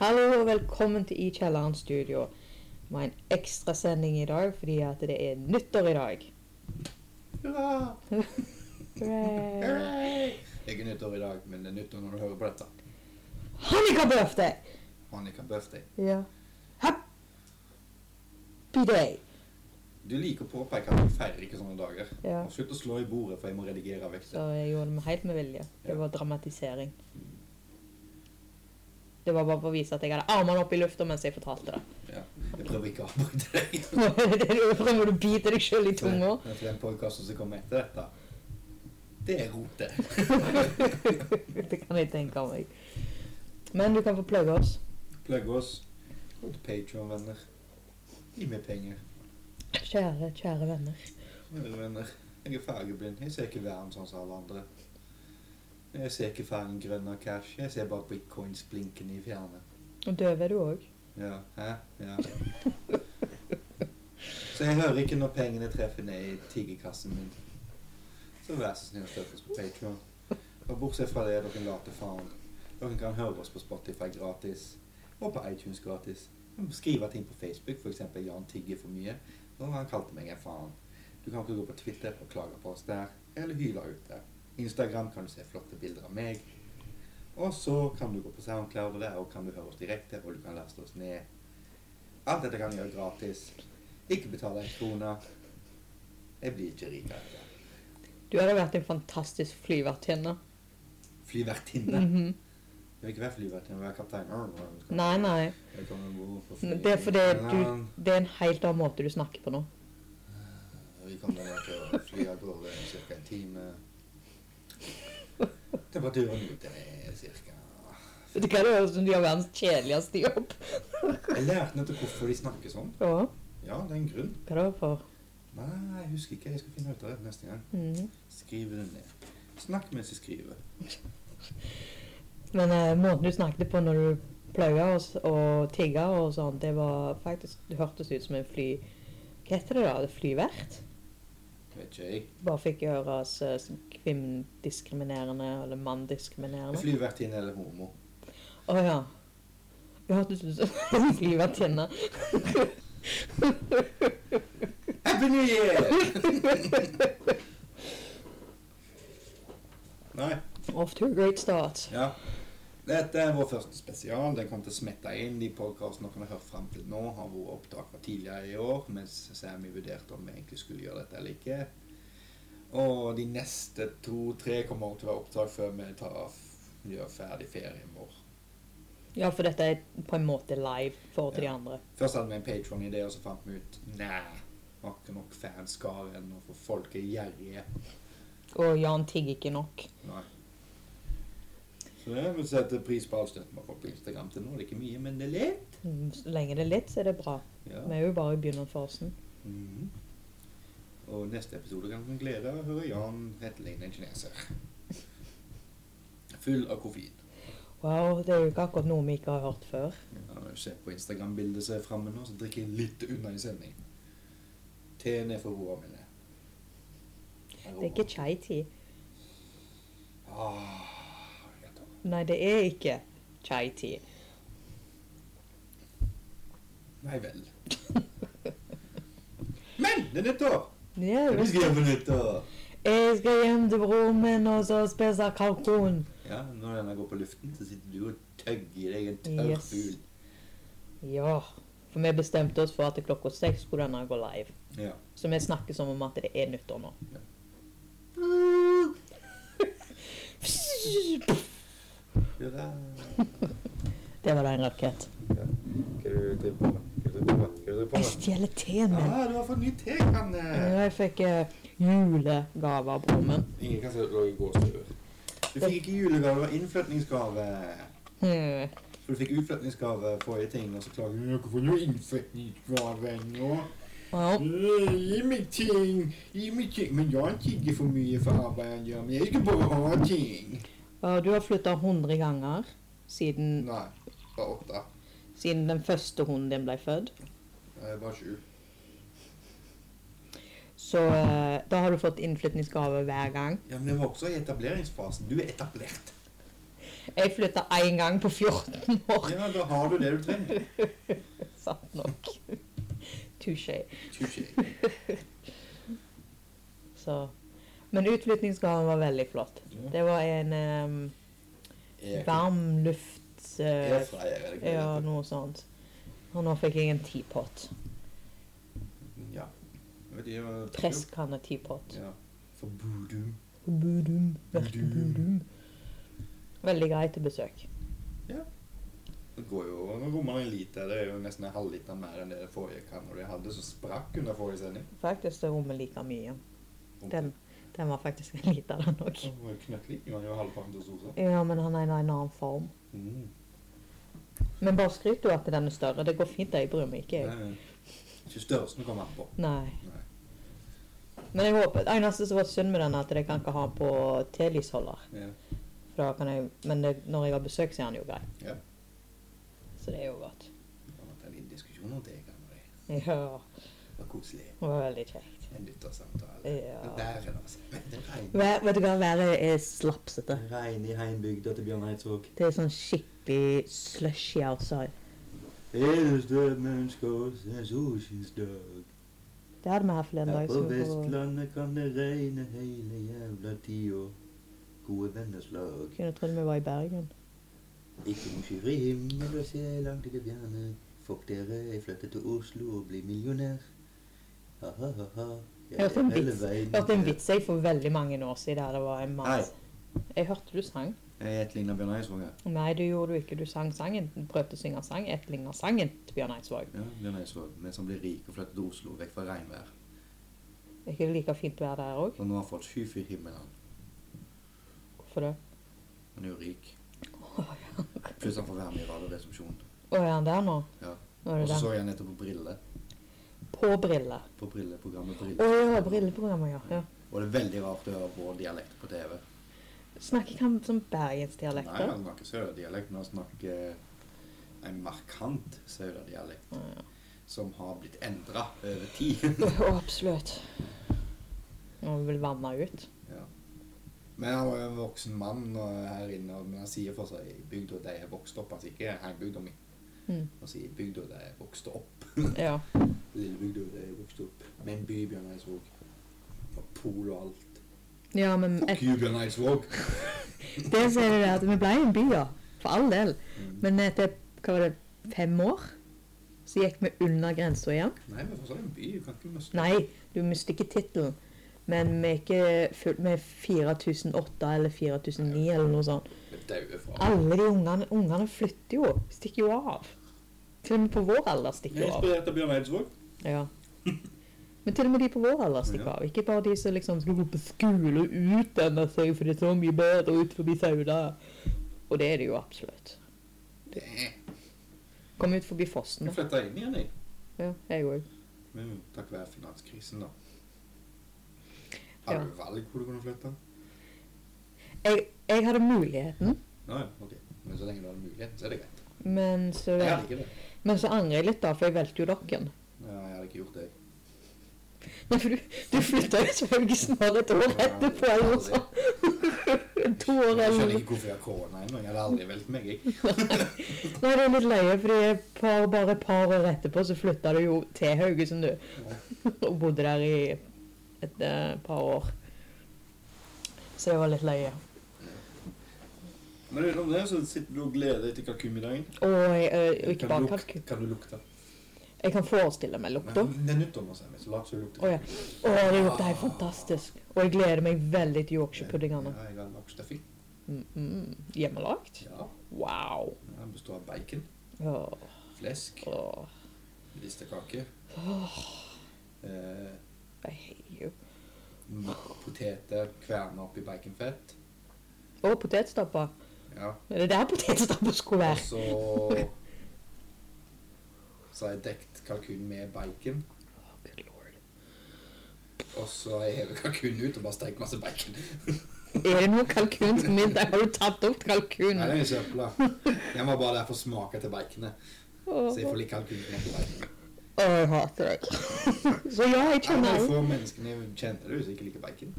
Hallo og velkommen til I kjelleren studio. Vi har en ekstrasending i dag fordi at det er nyttår i dag. Hurra! Hooray! Hurray! Ikke nyttår i dag, men det er nyttår når du hører på dette. Hanukkah birthday! Annika Birthday. Ja. Happy day! Du liker å påpeke at du feirer ikke sånne dager. Ja. Og Slutt å slå i bordet, for jeg må redigere vekk det. Så jeg gjorde det helt med vilje. Det var dramatisering. Det var bare for å vise at jeg hadde armene opp i lufta mens jeg fortalte det. Jeg prøver ikke å avbryte deg. Det er jo Prøver du å bite deg sjøl i tunga? Men til den podcasten som kommer etter dette, det er rotet. Det kan jeg tenke meg. Men du kan få plugge oss. Plugg oss. Gå til Patreon-venner. Gi meg penger. Kjære, kjære venner. Mine venner. Jeg er fargeblind. Jeg ser ikke verden sånn som alle andre. Jeg ser ikke fargen grønn av cash. Jeg ser bare bitcoins blinkende i fjernet. Og døv er du òg. Ja. Hæ? Ja. Så jeg hører ikke når pengene treffer ned i tigerkassen min. Så vær så snill å støtte oss på Patreon. Og bortsett fra det, dere later faen. Dere kan høre oss på Spotify gratis. Og på iTunes gratis. Skrive ting på Facebook, f.eks. Jan tigger for mye. Og han kalte meg en faen. Du kan ikke gå på Twitter og klage på oss der. Eller hyle ut der. Instagram kan du se flotte bilder av meg. Og så kan du gå på SoundCloud, og der og kan du høre oss direkte, og du kan laste oss ned. Alt dette kan du gjøre gratis. Ikke betale en krone. Jeg blir ikke rik av dette. Du hadde vært en fantastisk flyvertinne. Flyvertinne. Mhm. Jeg vil ikke være flyvertinne, jeg vil være kaptein. Nei, nei. Jeg kommer ombord på fly- Det er fordi England. du, det er en helt annen måte du snakker på nå. Vi kommer nok til å fly av gårde i ca. en time. Temperaturen ute er ca. Det kan høres ut som de har verdens kjedeligste jobb. Jeg lærte nettopp hvorfor de snakker sånn. Ja, Ja, det er en grunn. hva da for? Nei, jeg husker ikke. Jeg skal finne ut av det neste gang. Mhm. Skriv det ned. Snakk mens du skriver. Men eh, måten du snakket på når du pløya og, s- og tigga og sånn, det var faktisk Det hørtes ut som en fly... Hva heter det da? Det Flyvert? Vet ikke jeg. Bare fikk høres eh, som kvinnediskriminerende eller manndiskriminerende. Flyvertinne eller homo. Å ja. Det hørtes ut som en flyvertinne. Happy New Year! Nei. Off to a great start. Ja. Dette er vår første spesial. Den kommer til å smette inn de podkastene dere har hørt fram til nå. Har vært opptak fra tidligere i år, mens Sammy vurderte om vi egentlig skulle gjøre dette eller ikke. Og de neste to-tre kommer også til å være opptak før vi tar, gjør ferdig ferien vår. Ja, for dette er på en måte live for til de andre. Først hadde vi en Patron-idé, og så fant vi ut Nei, vi har ikke nok fanskaren, og for folk er gjerrige. Og Jan tigger ikke nok. Nei. Så jeg vil sette pris på all støtten vi har fått på Instagram til nå. Det er ikke mye, men det er litt. Mm, Så lenge det er litt, så er det bra. Ja. Vi er jo bare i begynnerfasen. Mhm. Og neste episode kan dere glede dere å høre Jan etterligne en kineser. Full av koffein. Wow, det er jo ikke akkurat noe vi ikke har hørt før. Ja, når du ser på Instagram-bildet som er framme nå, så drikker jeg litt unna i sending. Teen er for roa mine. Det er ikke chai-tea. Ah, jeg tar Nei, det er ikke chai-tea. Nei vel. Men det er nyttår! Ja, Det visst. blir gøy på nyttår! jeg skal hjem til broren min og så spise kalkun. Ja, når denne går på luften, så sitter du og tøgger i deg en tørr Yes. fugl. Ja. For vi bestemte oss for at klokka seks skulle denne gå live. Ja. Så vi snakker som om at det er nyttår nå. Hurra. Det var da en rakett. Ja. Hva er det du driver på med? Hva er det du driver på med? Hva er det du driver på Jeg med? stjeler teen min. Ah, du har fått ny tekanne! Ja, jeg fikk eh, julegave av broren min. Ingen kan se at du lå i gåstuer. Du fikk ikke julegave, det var innflytningsgave. Hmm. For du fikk utflytningsgave forrige ting, og så klager du. Dere får jo innflytningsgave ennå. Ja. Øh, Gi meg ting! Gi meg ting! Men jeg tigger for mye for arbeidet han gjør. Men jeg skal bare ha ting! Ja, Du har flytta 100 ganger siden, Nei, bare åtte. siden den første hunden din ble født. Eh, Bare sju. Så eh, da har du fått innflytningsgave hver gang. Ja, men det var også i etableringsfasen. Du er etablert. Jeg flytta én gang på 14 år. Ja, da har du det du trenger. Sant nok. Touché. Touché. Så. Men utflyttingsgaven var veldig flott. Ja. Det var en em, Air- varm luft eh, Airfryer er det ikke Ja, det? noe sånt. Og nå fikk jeg en teapot. Ja. Vet du, jeg- Presskanne teapot. Ja. For voodoo. Budum, verken Budum. budum. Veldig greit til besøk. Det går jo nå rommer en liter. Det er jo nesten en halvliter mer enn det forrige kamera jeg hadde, som sprakk under forrige sending. Faktisk det rommet like mye. Den, den var faktisk en liter, den òg. Den var jo knøttlik. Den var jo halvparten så stor som. Ja, men han er i en annen form. Mm. Men bare skryt du at den er større. Det går fint, jeg bryr meg ikke. jeg. Nei, Ikke størrelsen du kommer an på. Nei. Nei. Men jeg håper, det eneste som var synd med den, er at jeg kan ikke ha den på telysholder. Ja. For da kan jeg, men det, når jeg har besøk, så er den jo grei. Ja. Så det er jo godt. Det har vært en liten diskusjon om det kameraet. Ja, Det var koselig. det var veldig kjekt. En lyttersamtale. Ja. Det der er det, altså. Det regner. Vær, vet du hva, været er slapsete. Det regner i heimbygda til Bjørn Eidsvåg. Det er sånn skikkelig slushy outside. Eneste menneskers er solskinnsdag. Det hadde vi her forleden Her dag. på så vi får- Vestlandet kan det regne hele jævla tida. Gode venners lag. Kunne trodd vi var i Bergen. Ikke noe skyfri himmel og se langt i det fjerne. Fuck dere, jeg flytter til Oslo og blir millionær. Ha-ha-ha. Hørte en vits. Hørte en vits jeg for veldig mange år siden der det var en mann. Jeg hørte du sang. Jeg heter Lina Bjørn Eidsvåg. her. Nei, det gjorde du ikke. Du sang sangen. Du prøvde å synge sang. Etterligner sangen til Bjørn Eidsvåg. Ja, Bjørn Eidsvåg. Vi som blir rike og flytter til Oslo, vekk fra regnvær. Er ikke det like fint vær der òg? Og nå har han fått skyfri himmel. han. Hvorfor det? Han er jo rik. Å ja. Pluss han får være med i Radioresepsjonen. Å, er han der nå? Ja. Nå er Og det så der. så jeg nettopp på Brille. På briller. På Brille-programmet Å Brille. ja, brilleprogrammet, ja. ja. Og det er veldig rart å høre vår dialekt på TV. Snakker ikke han som Nei, bergensdialekter? han snakker sørdialekt, men han snakker eh, en markant sørdialekt Å ja. som har blitt endra over tid. Å, absolutt. Han vil vanne ut. ja. Men han var jo en voksen mann og her inne, og- men han sier for seg i bygda der jeg vokste opp. Han sier ikke heimbygda mi, Mm. han sier bygda der jeg vokste opp. Ja. Lille bygda der jeg vokste opp. Med en by i Bjørn Eidsvåg. Og pol og alt. ja, men et, Fuck you, Bjørn Eidsvåg! det som er det er at vi ble en by, ja. For all del. Mm. Men etter hva var det, fem år, så gikk vi under grensa igjen. Nei, men fortsatt en by. Du kan ikke miste Nei, du mister ikke tittelen. Men vi er ikke fullt med 4008 eller 4009 eller noe sånt. daue fra. Alle de ungene, ungene flytter jo. Stikker jo av. Til og med på vår alder Jeg stikker er jo av. inspirert av Bjørn Eidsvåg. Ja. Men til og med de på vår alder stikker Ja. av. Ikke bare de som liksom skal gå på skole og utdanne seg for det er så mye bedre ut forbi Sauda. Og det er det jo absolutt. Jeg Kom ut forbi Fossen. flytta inn igjen, jeg. Ja, jeg òg. Men takk være finanskrisen, da. Hadde du valg hvor du kunne flytte? Jeg, jeg hadde muligheten, Nei, ok. Men så lenge du har mulighet, så er det greit. men så, Jeg hadde ikke det. men så angrer jeg litt, da, for jeg valgte jo dere. Ja, jeg hadde ikke gjort det. Nei, for du, du flytta jo selvfølgelig snart et år etterpå, eller noe sånt. To år Jeg eller skjønner ikke hvorfor jeg har korona ennå. Jeg hadde aldri valgt meg, jeg. Nei, det er litt løye, fordi et par, bare et par år etterpå så flytta du jo til Haugesund, du. Og bodde der i et eh, par år. Så det var litt løye. Men utenom det, så sitter du og gleder deg til kalkunmiddagen. Og jeg, eh, og ikke Kan bare du lukte- kalkun. Kan du lukte? Jeg kan forestille meg lukta. Men Det er nyttår, sier vi, så lat som du lukter. Å ja. Å, det lukter helt fantastisk. Og jeg gleder meg veldig til Yorkshire-puddingene. Ja, jeg har lagt stuffing. Mm, mm. Hjemmelagt? Ja. Wow. Den består av bacon, Åh, flesk, åh. ristekake, eh, I hate you. poteter kverna oppi baconfett. Og potetstapper. Ja. Er det der potetstapper skulle Og være? så Så har jeg dekt kalkunen med bacon. Åh, good lord. Og så har jeg hevet kalkunen ut og bare stekt masse bacon. Er det noe kalkun til middag? Har du tatt opp Nei, den kalkunen? er søpla. Den var bare der for å smake til baconet. Så Åh, jeg får litt kalkun med bacon. Åh, jeg hater deg. Så ja, jeg Det kjenner er det. få menneskene jeg kjenner du som ikke liker bacon.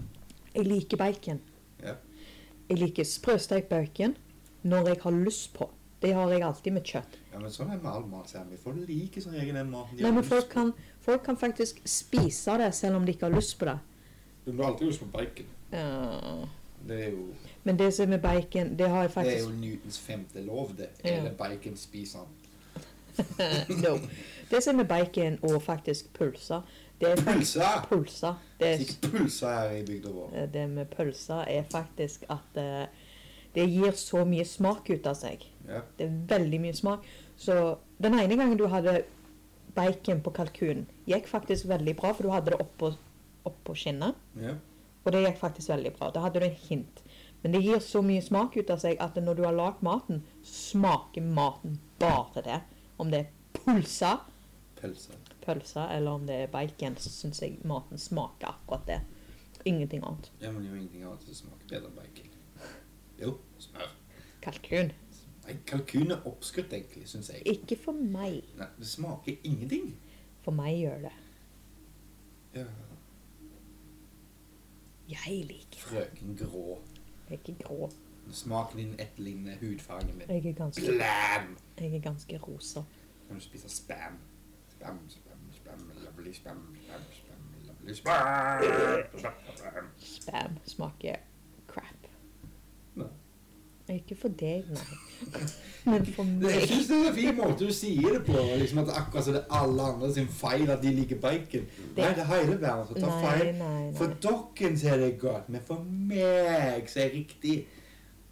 Jeg liker bacon. Ja. Jeg liker sprøstekt bacon. når jeg har lyst på. Det har jeg alltid med kjøtt. Ja, men sånn er det med all mat, Sammy. Folk liker som regel den maten de Nei, har men lyst folk på. kan, folk kan faktisk spise det selv om de ikke har lyst på det. Du blir alltid lyst på bacon. Ja. Det er jo, Men det som er med bacon, det har jeg det er faktisk jo Newtons femte lov, det. Ja. Eller bacon spiser han. no. Det som er med bacon og faktisk pølser, det er faktisk Pølse! pølser. Det, Det er er- ikke pølse her i bygda vår. det med pølser er faktisk at eh, det gir så mye smak ut av seg. Ja. Det er veldig mye smak. Så den ene gangen du hadde bacon på kalkun, gikk faktisk veldig bra, for du hadde det oppå, oppå skinnet. Ja. Og det gikk faktisk veldig bra. Da hadde du en hint. Men det gir så mye smak ut av seg at når du har lagd maten, smaker maten bare det. Om det er pølse, Pølse. pølse eller om det er bacon, så syns jeg maten smaker akkurat det. Ingenting annet. Ja, men det er jo ingenting annet som smaker bedre enn bacon. Jo, smør. Kalkun. Nei, kalkun er oppskrytt, egentlig, syns jeg. Ikke for meg. Nei, det smaker ingenting. For meg gjør det. Ja. Jeg liker det. Frøken grå. Jeg er ikke grå. Smaken din etterligner hudfargen min. Jeg er ganske, Blam! jeg er ganske rosa. Kan du spise spam? Spam, spam, spam, lovely spam, spam, spam, lovely spam. spam. Spam smaker crap. Nei. Ikke for deg, nei. Men for Jeg meg. synes det er en fin måte du sier det på. Liksom at det er akkurat som det er alle andre sin feil at de liker bacon. Nei, det er hele verden som tar Nei, feil. nei, nei. For dere så er det godt, men for meg så er det riktig.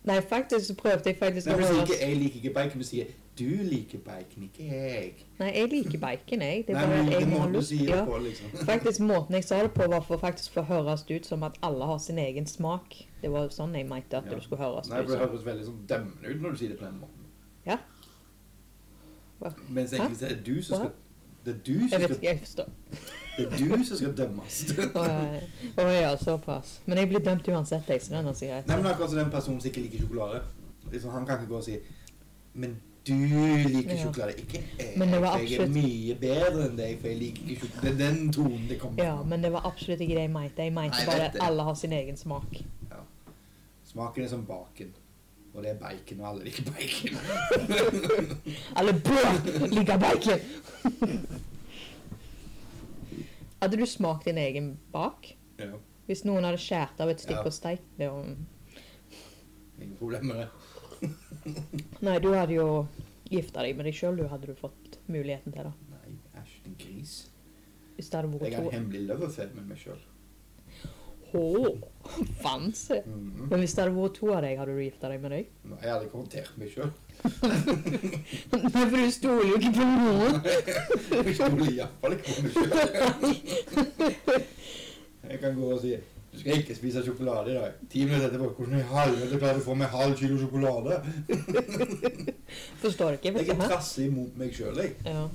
Nei, faktisk så prøvde jeg faktisk Nei, å du sier holde ikke 'jeg liker ikke bacon', du sier 'du liker bacon, ikke jeg'. Nei, jeg liker bacon, jeg. Det er Nei, bare men at det er jeg har måten du lyst sier det ja. på, liksom. Faktisk, måten jeg sa det på, var for faktisk for å høres ut som at alle har sin egen smak. Det var jo sånn jeg mente at Ja. det skulle høres Nei, ut for Det som. høres veldig sånn dømmende ut når du sier det på den måten. Ja. Hva? Mens egentlig så er det du som skal Det er du som Jeg vet skal, ikke, jeg forstår. det er du som skal dømmes. Å ja, å ja, såpass. Men jeg blir dømt uansett, jeg, så det er noe greit. Nei, men akkurat som den personen som ikke liker sjokolade. Liksom, han kan ikke gå og si Men du liker Ja. sjokolade, ikke jeg. Men det var Jeg er absolutt- mye bedre enn deg, for jeg liker ikke sjokolade. Det er den tonen det kommer Ja, men det var absolutt ikke det jeg mente. Jeg Nei, mente jeg bare vet at det. alle har sin egen smak. Smaken er som baken. Og det er bacon, og alle liker bacon. Alle bør like bacon! Hadde du smakt din egen bak? Ja, Hvis noen hadde skjært av et stykke Ja. og steikt det om ingen problemer med det. Nei, du hadde jo gifta deg med deg sjøl, du hadde du fått muligheten til det. Nei, æsj, din gris. Hvis det hadde Jeg vært har en to hemmelig loverfed med meg sjøl. Hå! Fanns det? Mhm. Men hvis det hadde vært to av deg, hadde du gifta deg med deg? Nei, Jeg hadde ikke håndtert meg sjøl. Nei, for du stoler jo ikke på noen! Jeg stoler iallfall ikke på meg sjøl. Jeg kan gå og si du skal ikke spise sjokolade i dag. Ti minutter etterpå hvordan i helvete klarer du å få meg halv kilo sjokolade? Forstår du ikke? Jeg Vet er du hva? trassig mot meg sjøl, jeg. Ja.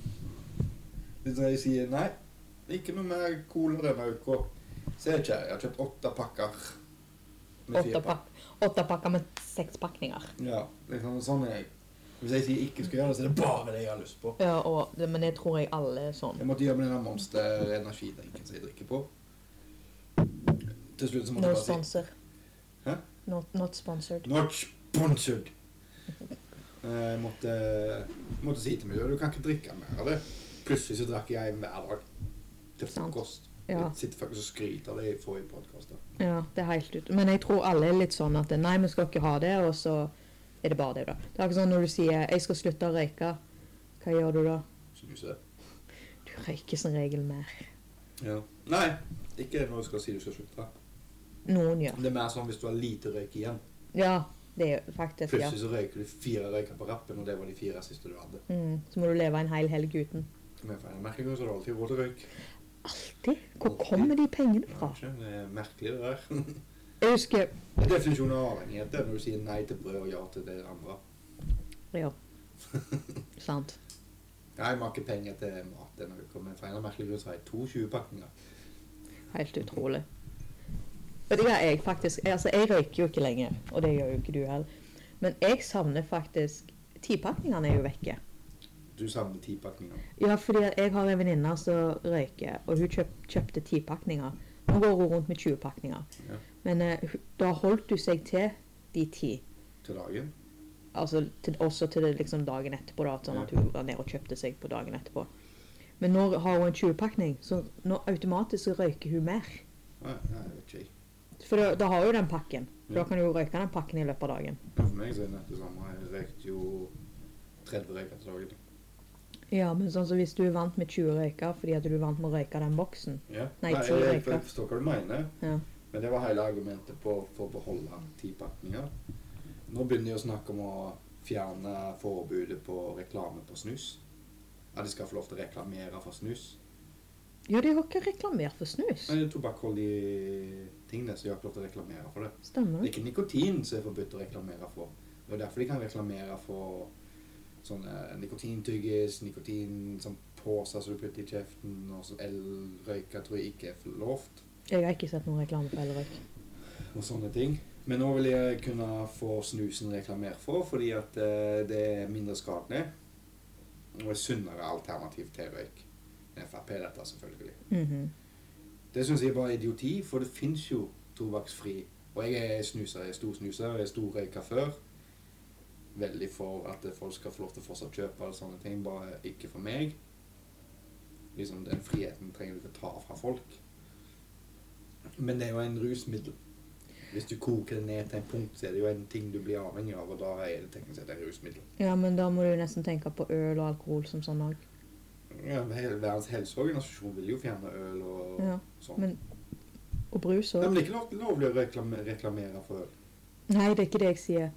Hvis jeg sier nei, ikke noe mer cola denne uka. Se, kjære, jeg har kjøpt åtte pakker. med fire Åtte, pak åtte pakker med seks pakninger. Ja, liksom sånn er jeg. Hvis jeg sier ikke skal gjøre det, så er det bare det jeg har lyst på. Ja, og, det- men det tror jeg alle er sånn. Jeg måtte gjøre med denne Monster energidrinken som jeg drikker på. Til slutt så No måtte jeg bare si sponsor. Hæ? Not, not sponsored. Not sponsored. Eh, Jeg måtte, måtte si til meg selv, du kan ikke drikke mer av det. Plutselig så drakk jeg hver dag til Sant. frokost. Ja. Jeg sitter faktisk og skryter av det i forrige podkast. Ja, det er helt ut. Men jeg tror alle er litt sånn at nei, vi skal ikke ha det, og så er det bare det, da. Det er ikke sånn når du sier 'jeg skal slutte å røyke', hva gjør du da? Snuse. Du røyker som regel mer. Ja. Nei, ikke når du skal si du skal slutte. Noen gjør. Det er mer sånn hvis du har lite røyk igjen. Ja, det er faktisk ja. Plutselig så røyker du fire røyker på rappen, og det var de fire siste du hadde. Mm, så må du leve en hel helg uten. Men for jeg merker jo så har du alltid råd til røyk. Alltid. Hvor kommer de pengene fra? Kanskje. Det er merkelig, det der. Jeg husker Definisjonen av avhengighet det er når du sier nei til brød og ja til det andre. Ja. Sant. Ja, Jeg må ikke penger til mat denne uka, men for en eller annen merkelig grunn så har jeg to 20-pakninger. Helt utrolig. Vet du hva jeg faktisk Altså, jeg røyker jo ikke lenger, og det gjør jo ikke du heller. Men jeg savner faktisk Tipakningene er jo vekke. Du savner ti pakninger. Ja, fordi at jeg har en venninne som røyker, og hun kjøp, kjøpte ti pakninger. Nå går hun rundt med 20 pakninger. Ja. Men eh, hun- da holdt hun seg til de ti. til dagen. Altså til, også til det liksom dagen etterpå, da, sånn at Ja. hun var nede og kjøpte seg på dagen etterpå. Men nå har hun en 20-pakning, så nå automatisk så røyker hun mer. Nei, nei, jeg vet ikke. jeg. For da, da har hun den pakken. For Ja. da kan hun jo røyke den pakken i løpet av dagen. Men For meg så er det nettopp det samme. Jeg røykte jo 30 røyker til dagen. Ja, men sånn som hvis du er vant med 20 røyker fordi at du er vant med å røyke den boksen. Ja. Nei, jeg, ti jeg, røyker. forstår hva du mener, Ja. men det var hele argumentet på for å beholde ti pakninger. Nå begynner de å snakke om å fjerne forbudet på reklame på snus. At de skal få lov til å reklamere for snus. Ja, de har ikke reklamert for snus. Nei, det er tobakksholdige tingene, så de har ikke lov til å reklamere for det. Det Stemmer. er ikke nikotin som er forbudt å reklamere for. Det er derfor de kan reklamere for sånne nikotintyggis, nikotin som poser som du putter i kjeften, og så elrøyker tror jeg ikke er lovt, Jeg har ikke sett noen reklame for elrøyk. og sånne ting. Men nå vil jeg kunne få snusen reklamert for, fordi at eh, det er mindre skadelig, og er sunnere alternativ til røyk. Det er Frp dette, selvfølgelig. Mhm. Det syns jeg bare er idioti, for det fins jo tobakksfri. Og jeg er snuser, jeg er stor snuser, jeg er stor røyker før. Veldig for at folk skal få lov til å fortsatt kjøpe og sånne ting, bare ikke for meg. Liksom, Den friheten trenger du ikke ta fra folk. Men det er jo en rusmiddel. Hvis du koker det ned til en punkt, så er det jo en ting du blir avhengig av, og da er det teknisk sett en rusmiddel. Ja, men da må du nesten tenke på øl og alkohol som sånn òg. Ja, men hele Verdens helseorganisasjon vil jo fjerne øl og Ja. sånn. Men, og brus Nei, òg. men det er ikke lov, lovlig å reklame, reklamere for øl. Nei, det er ikke det jeg sier.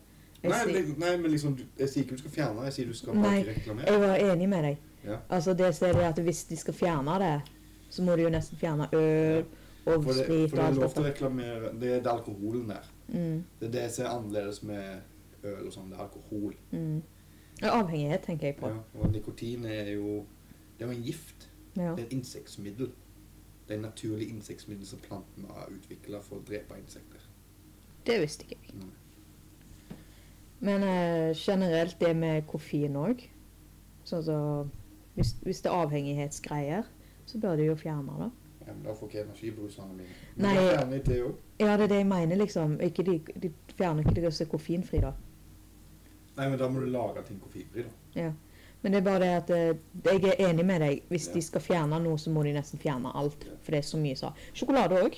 Jeg, Nei, sier, men- nei, men liksom, du- jeg sier ikke du skal fjerne, jeg sier du skal Nei, bare ikke reklamere. jeg var enig med deg. Ja. Altså det som er det at Hvis de skal fjerne det, så må de jo nesten fjerne øl og For det, sprit og for det er alt lov til å dette. reklamere, det er det alkoholen der. Mm, Det er det som er annerledes med øl og sånn, det er alkohol. mm. Ja, Avhengighet tenker jeg på. Ja, og nikotin er jo, det er jo en gift, Ja. det er et insektmiddel. Det er en naturlig insektmiddel som plantene har utviklet for å drepe insekter. Det visste ikke jeg. Nei. Men eh, generelt det med koffein òg. Sånn som hvis, hvis det er avhengighetsgreier, så bør de jo fjerne det. Ja, men da får ikke energibrusene mine. Nei. Men da fjerner jeg det jo. Ja, det er det jeg mener, liksom. Ikke de, de fjerner ikke det som er koffeinfri, da. Nei, men da må du lage ting koffeinfri da. Men det er bare det at eh, jeg er enig med deg. Hvis Ja. de skal fjerne noe, så må de nesten fjerne alt. Ja. For det er så mye sa. Sjokolade òg.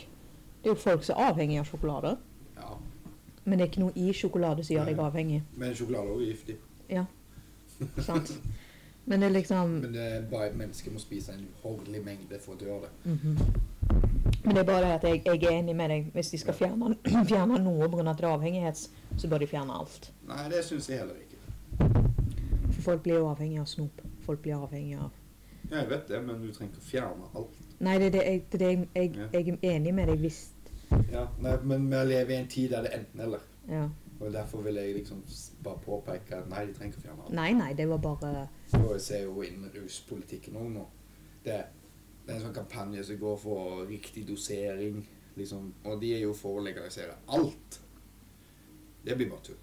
Det er jo folk som er avhengig av sjokolade. Ja, Men det er ikke noe i sjokolade som gjør Nei. deg avhengig. men sjokolade er jo giftig. Sant? Men det er liksom Men det er bare et menneske må spise en uhorvelig mengde for å dø av det. mhm. Men det er bare det at jeg, jeg er enig med deg. Hvis de skal fjerne, fjerne noe pga. avhengighets, så bør de fjerne alt. Nei, det syns jeg heller ikke. For folk blir jo avhengig av snop. Folk blir avhengig av Ja, jeg vet det, men du trenger ikke å fjerne alt. Nei, det er det jeg, det er det jeg, jeg, Ja. jeg er enig med deg hvis Ja, nei, Men vi lever i en tid der det er enten-eller. ja. Og Derfor vil jeg liksom s- bare påpeke at nei, de trenger ikke å fjerne alt. Nei, nei, det var bare Og jeg ser jo innen ruspolitikken òg nå. Det, det er en sånn kampanje som går for riktig dosering, liksom. Og de er jo for å legalisere alt. Det blir bare tull.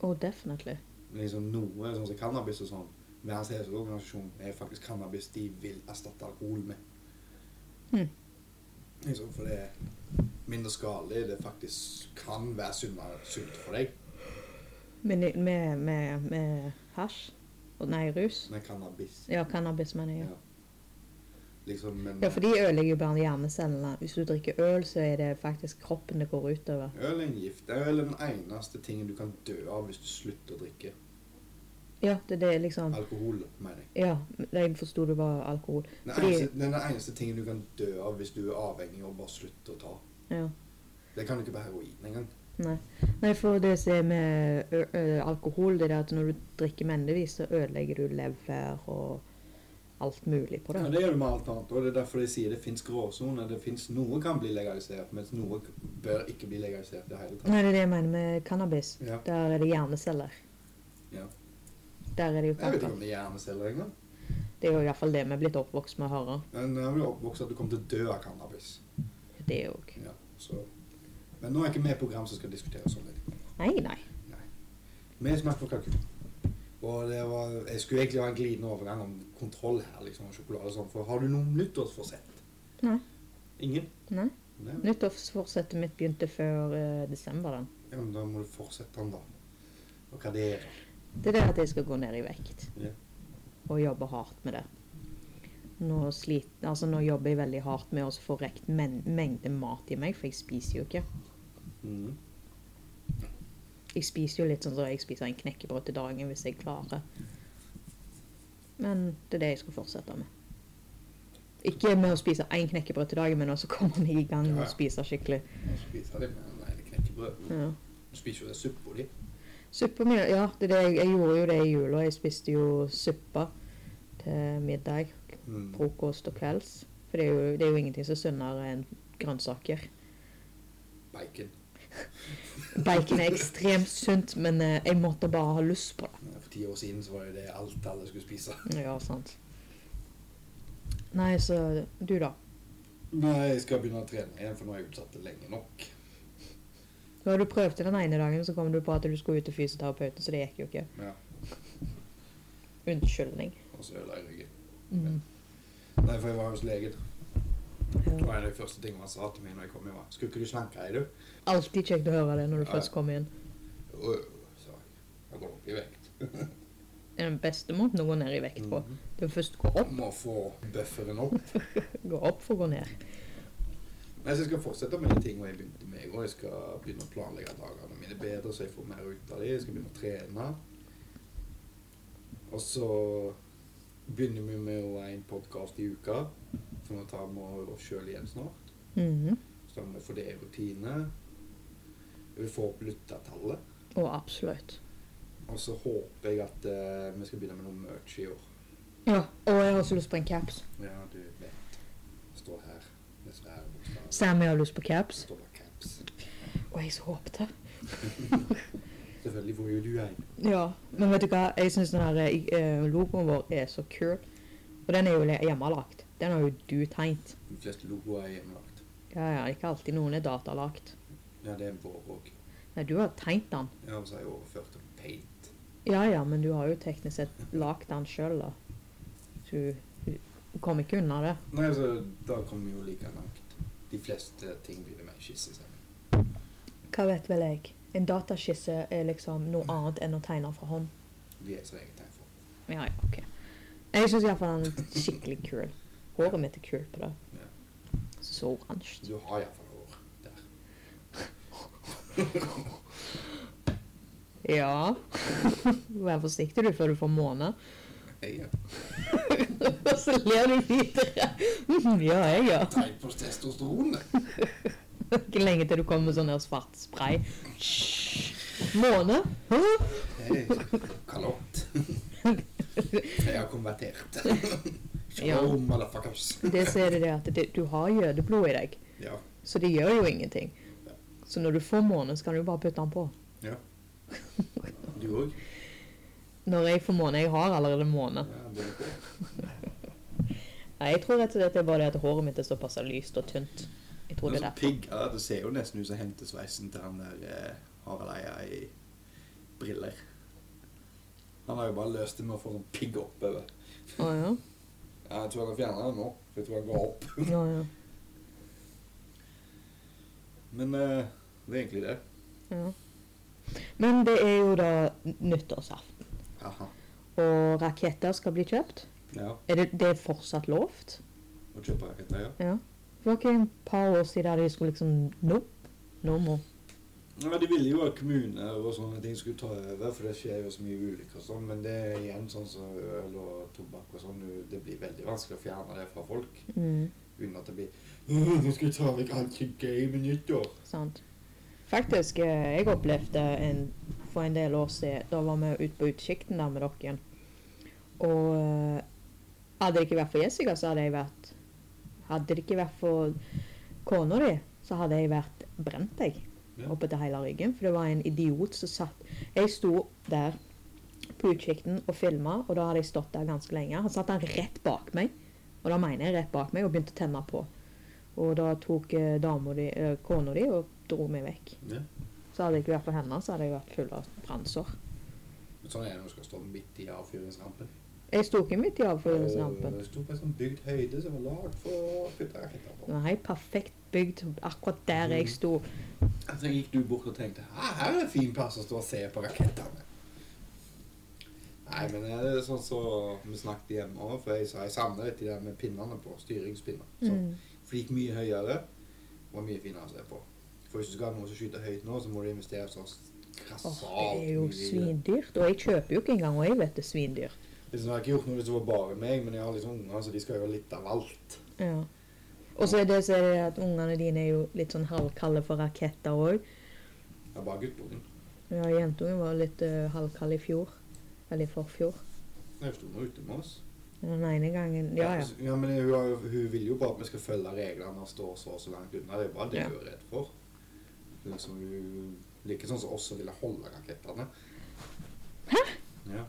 Oh, definitely. Liksom Noe sånn som cannabis og sånn. Verdens helseorganisasjon er faktisk cannabis de vil erstatte alkohol med. Hmm. Liksom, for det er mindre skadelig. Det faktisk kan være sunnere sunt for deg. Men i- med, med, med hasj? Og nei, rus? Med cannabis. Ja, cannabis, mener jeg. Ja. Liksom, men Ja, for de ødelegger jo bare hjernecellene. Hvis du drikker øl, så er det faktisk kroppen det går utover. øl er en gift. Øl er den eneste tingen du kan dø av hvis du slutter å drikke. Ja, det, det er liksom Alkohol, mener jeg. Ja, jeg forsto det var alkohol. Den Fordi- eneste, den eneste tingen du kan dø av hvis du er avhengig og bare slutter å ta. Ja, Det kan du ikke på heroin engang. nei. Nei, for det som er med ø ø alkohol, det er at når du drikker mennligvis, så ødelegger du lever og alt mulig på Ja, det. det gjør du med alt annet. Og det er derfor de sier det fins gråsoner. Det fins noe kan bli legalisert, mens noe bør ikke bli legalisert i det hele tatt. Nei, det er det jeg mener med cannabis. Ja. Der er det hjerneceller. Ja. Der er det jo Jeg tanker. vet ikke om det er hjerneceller engang. Det er jo iallfall det vi er blitt oppvokst med å høre. Men jeg ble oppvokst at du kom til å dø av cannabis. Det er jo ikke Ja, så. Men nå er ikke vi et program som skal diskutere sånn sånne ting. Nei, nei. Vi smaker kalkun. Og det var, jeg skulle egentlig ha en glidende overgang om kontroll her, liksom, og sjokolade og sånn. For har du noen nyttårsforsett? Nei. Ingen? nei. Nei. Nyttårsforsettet mitt begynte før eh, desember, den. Ja, men da må du fortsette den, da. og karriere. Det er det at jeg skal gå ned i vekt. Ja. Og jobbe hardt med det. Nå, slit, altså nå jobber jeg veldig hardt med å få rekt men mengde mat i meg, for jeg spiser jo ikke. Mm. Jeg spiser jo litt sånn som jeg spiser en knekkebrød til dagen hvis jeg klarer. Men det er det jeg skal fortsette med. Ikke med å spise én knekkebrød til dagen, men også komme meg i gang Ja, og ja. spise skikkelig. Og spiser de med en ene knekkebrød. Ja. Du spiser jo det suppa di. Suppe mi, ja. Det er det jeg, jeg gjorde jo det i jula. Jeg spiste jo suppe til middag, Mm. frokost og kvelds. For det er jo, det er jo ingenting som er sunnere enn grønnsaker. Bacon. Bacon er ekstremt sunt, men eh, jeg måtte bare ha lyst på det. Ja, For ti år siden så var det jo det alt alle skulle spise. Ja, sant. Nei, så du, da? Nei, jeg skal begynne å trene igjen, for nå har jeg utsatt det lenge nok. Nå har du prøvd det den ene dagen, så kom du på at du skulle ut til fysioterapeuten, så det gikk jo ikke. Ja. Unnskyldning. Og så ødela altså, jeg ryggen. Mm. Nei, for jeg var hos legen. Det Ja. var en av de første tingene han sa til meg når jeg kom hjem. var, Skulle ikke du slanke deg, du? Alltid kjekt å høre det når du Ja. først kommer inn. «Å, jo», sa jeg. Jeg går opp i vekt. Det er den beste måten å gå ned i vekt på. Mhm. Det er først gå opp, Må få bufferen opp. gå opp for å gå ned. Nei, så jeg skal fortsette med de tingene jeg begynte med i går. Jeg skal begynne å planlegge dagene mine bedre, så jeg får mer ut av dem. Jeg skal begynne å trene. Og så begynner vi med å ha en podkast i uka, for nå tar vi oss sjøl igjen snart. Mhm. Så da må vi få det i rutine. Vi får opp lyttertallet. Og absolutt. Og så håper jeg at eh, vi skal begynne med noe merch i år. Ja, og jeg har også lyst på en caps. Ja, du vet. Står her. Det er svære bokstaver. Sammy har lyst på caps. Står bare caps. Og jeg så håpte. Selvfølgelig får jo du en. Ja, men vet du hva? Jeg syns den her eh, logoen vår er så kul. Og den er jo le- hjemmelagt. Den har jo du tegnet. De fleste logoer er hjemmelagt. Ja, ja, ikke alltid noen er datalagt. Ja, det er vår òg. Nei, du har tegnet den. Ja, og så har jeg overført til paint. Ja, ja, men du har jo teknisk sett lagd den sjøl, da. Så du, du kommer ikke unna det. Nei, altså, da kommer vi jo like langt. De fleste ting blir det mer skisse sammen. Hva vet vel jeg? En dataskisse er liksom noe annet enn å tegne fra hånd. De er som jeg tegner for. Ja, ja, ok. Jeg syns iallfall den er skikkelig kul. Håret mitt er kult på det. Ja. Så oransje. Du har iallfall hår der. Ja. Vær forsiktig du før du får måne. Jeg er Og så ler du videre. ja, jeg, ja. tegn på testosteron. Ikke lenge til du kommer med sånn her svart spray. Måne? Hæ? Hei, kalott. Jeg har konvertert. Ja. Show, motherfuckers. Det så er det det at det, du har jødeblod i deg, Ja. så det gjør jo ingenting. Så når du får måne, så kan du bare putte den på. Du òg? Når jeg får måne, jeg har allerede måne. Ja, det er det. Nei, jeg tror rett og slett det er bare det at håret mitt er såpass lyst og tynt. Jeg tror Men det er så derfor. pigg ja, Det ser jo nesten ut som hentesveisen til han der eh, Harald Eia i briller. Han har jo bare løst det med å få sånn pigg oppover. Å ja. Ja, jeg tror han har fjerna den nå. for Jeg tror han går opp. Ja, ja. Men eh, det er egentlig det. ja. Men det er jo da nyttårsaften, Aha. og raketter skal bli kjøpt. Ja. Er det, det er fortsatt lovt? Og kjøper raketter, ja. Ja. Det var ikke et par år siden de skulle liksom Nope. No more. ja. De ville jo at kommuner og sånne ting skulle ta over, for det skjer jo så mye ulykker og sånn. Men det er igjen sånn som øl og tobakk og sånn. du- Det blir veldig vanskelig å fjerne det fra folk. Mm, Uten at det blir «Åh, Nå skal jeg ta vekk alt som er gøy med nyttår. sant. Faktisk, eh, jeg opplevde en, for en del år siden Da var vi ute på utsikten der med dere. Og eh, hadde det ikke vært for Jessica, så hadde jeg vært Hadde det ikke vært for kona di, så hadde jeg vært brent, jeg. Ja. Oppe til hele ryggen. For det var en idiot som satt Jeg sto der på utsikten og filma, og da hadde jeg stått der ganske lenge. Han satt der rett bak meg, og da mener jeg rett bak meg, og begynte å tenne på. Og da tok eh, dama di, eh, kona di og dro meg vekk. Ja. Så hadde det ikke vært for henne, så hadde jeg vært full av brannsår. Men Sånn er det når du skal stå midt i avfyringsrampen. Jeg sto ikke midt i avføringsrampen. Det sto på en sånn bygd høyde som var lagd for å putte raketter Det på. var helt perfekt bygd akkurat der jeg sto. «Ah, Så gikk du bort og tenkte «Hæ, her er det fin plass å stå og se på rakettene. Nei, men er det sånn som vi snakket hjemme òg, for jeg sa jeg savner litt de der med pinnene på. Styringspinner. Så, Mm. For det gikk mye høyere og mye finere å se på. For hvis du skal ha noe som skyter høyt nå, så må du investere så Åh, krassalt det er jo mye i det. svindyrt. Og jeg kjøper jo ikke engang, og jeg vet det er svindyrt. Liksom, jeg har ikke gjort noe som var bare meg, men jeg har liksom unger, så de skal jo ha litt av alt. Ja. Og så er det så er det at ungene dine er jo litt sånn halvkalde for raketter òg. Jeg er bare guttungen. Ja, jentungen var litt uh, halvkald i fjor. Eller i forfjor. Jeg sto nå ute med oss. Den ene gangen Ja, ja. ja men hun, har jo- hun vil jo bare at vi skal følge reglene og stå så og så langt unna. Det er jo bare det Ja. hun er redd for. Liksom, hun liker sånn som oss som ville holde rakettene. Hæ? Ja.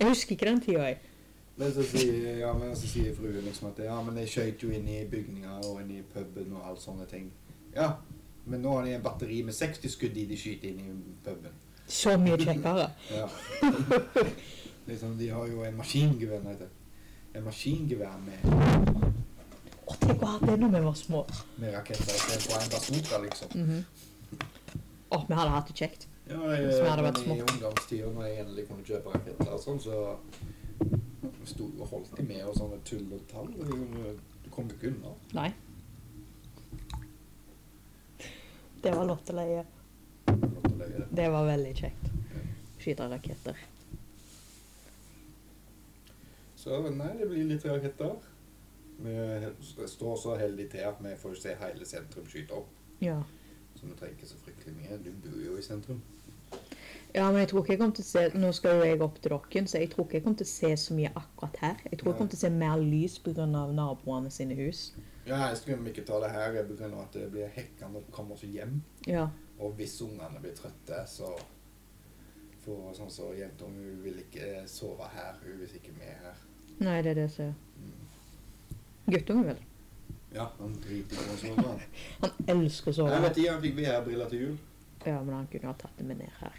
Jeg husker ikke den tida, jeg. Men så sier, ja, men så sier fruen liksom at ja, men jeg skjøt jo inn i bygninger og inn i puben og alt sånne ting. Ja, men nå har de en batteri med 60 skudd i de skyter inn i puben. Så mye kjekkere. Ja. liksom, de har jo en maskingevær, nei, det. En maskingevær med, Å, tenk å ha hatt det når vi var små. med raketter istedenfor en bazooka, liksom. Mhm. Å, vi hadde hatt det kjekt. Ja, Som hadde vært men i ungdomstida, når jeg endelig kunne kjøpe raketter og sånn, så sto og holdt de med og sånne tull og tall. og liksom, Du kom jo ikke unna. Nei. Det var lotteleie. måtte løye det. Det var veldig kjekt. Skyte raketter. Så nei, det blir litt raketter. Vi he- står så heldig til at vi får se hele sentrum skyte opp. Ja. Så vi trenger ikke så fryktelig mye. Du bor jo i sentrum. ja, men jeg tror ikke jeg kommer til å se Nå skal jo jeg opp til dere, så jeg tror ikke jeg kommer til å se så mye akkurat her. Jeg tror jeg kommer til å se mer lys pga. naboene sine hus. Ja, jeg skulle ikke ta det her jeg begynner at det blir hekkende og kommer oss hjem. Ja. Og hvis ungene blir trøtte, så For sånn så jenta hun vil ikke sove her. Hun vil ikke med her. Nei, det er det som Mm. Guttungen, vel. Ja, han driter i å sove. han. Han elsker å Jeg sove. vet ikke, han fikk VR-briller til jul. Ja, men han kunne ha tatt det med ned her.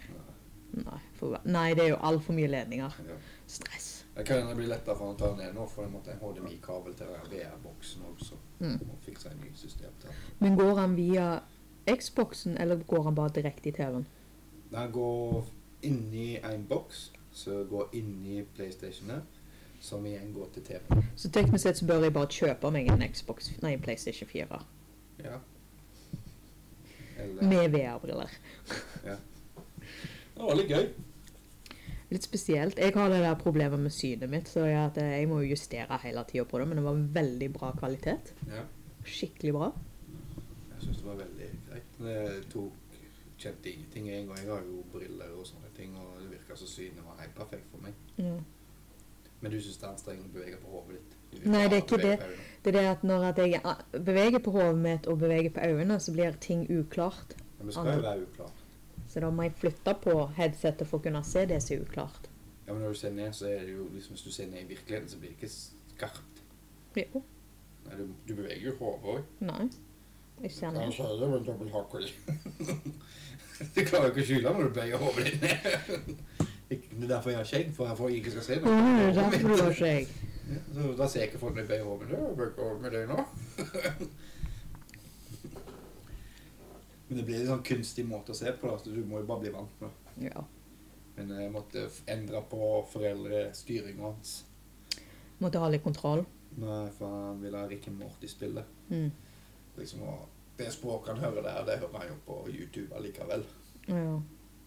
Nei, for, nei det er jo altfor mye ledninger. Ja. Stress. Det kan hende det blir lettere for han å ta den ned nå, for jeg måtte en HDMI-kabel til den VR-boksen også. Mm. Og fikse en ny system til. den. Men går han via Xboxen, eller går han bare direkte i TV-en? Den går inni en boks, som går inni PlayStationet, som igjen går til TV. Så teknisk sett så bør jeg bare kjøpe meg en Xbox, nei, en PlayStation 4 Ja. Eller med VR-briller. Det var litt gøy. Litt spesielt. Jeg har det der problemet med synet mitt, så jeg, at jeg må jo justere hele tida på det, men det var veldig bra kvalitet. Ja. Skikkelig bra. Jeg syns det var veldig greit. Men Jeg tok kjente ingenting en gang. Jeg har jo briller og sånne ting, og det virka som synet var helt perfekt for meg. Ja. Men du syns det er anstrengende å bevege på hodet ditt? Du vil Nei, bare det er ikke det. bevege på øynene. Det er det at når at jeg ah, beveger på hodet mitt og beveger på øynene, så blir ting uklart. Men det skal jo være uklart. Så da må jeg flytte på headsetet for å kunne se det som er uklart. Ja, men når du ser ned, så er det jo liksom Hvis du ser ned i virkeligheten, så blir det ikke skarpt. Jo. Nei, du, du beveger jo hodet òg. Nei. Jeg ser ned. Du klarer jo ikke å skjule når du bøyer hodet ditt ned. Ikke- Det er derfor jeg har skjegg, for jeg får ikke skal se Å, det noe. er derfor du har skjegg. Ja, Så da ser ikke folk når jeg bøyer hodet mitt. Jeg bøyer ikke hodet mitt nå. Men det blir en sånn kunstig måte å se på, da, så du må jo bare bli vant med det. Ja. Men jeg måtte f- endre på foreldrestyringa hans. Måtte ha litt kontroll. Nei, for han ville ha Rick and Morty-spillet. Mm. liksom, og det språket han hører der, det hører han jo på YouTube allikevel. Ja.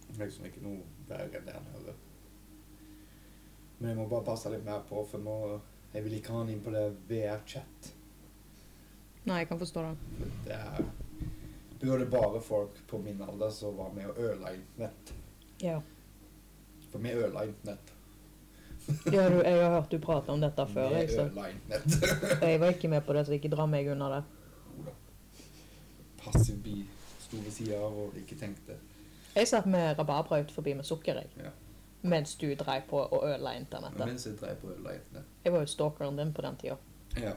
Det er Liksom ikke noe verre enn det han hører. Men jeg må bare passe litt mer på, for jeg, må, jeg vil ikke ha han inn på det VR-chat. Nei, jeg kan forstå det. For Det er burde bare folk på min alder som var med og ødela internett. Ja. For vi ødela internett. du, jeg har hørt du prate om dette før. Vi Jeg, så. ødela internett. jeg var ikke med på det, så ikke dra meg unna det. Ola. Passiv bi sto ved sida av og ikke tenkte. Jeg satt med rabarbra ut forbi med sukker, jeg. Ja. Mens du dreiv på og ødela Men internettet. mens jeg drev på å ødela internett. Jeg var jo stalkeren din på den tida. Ja.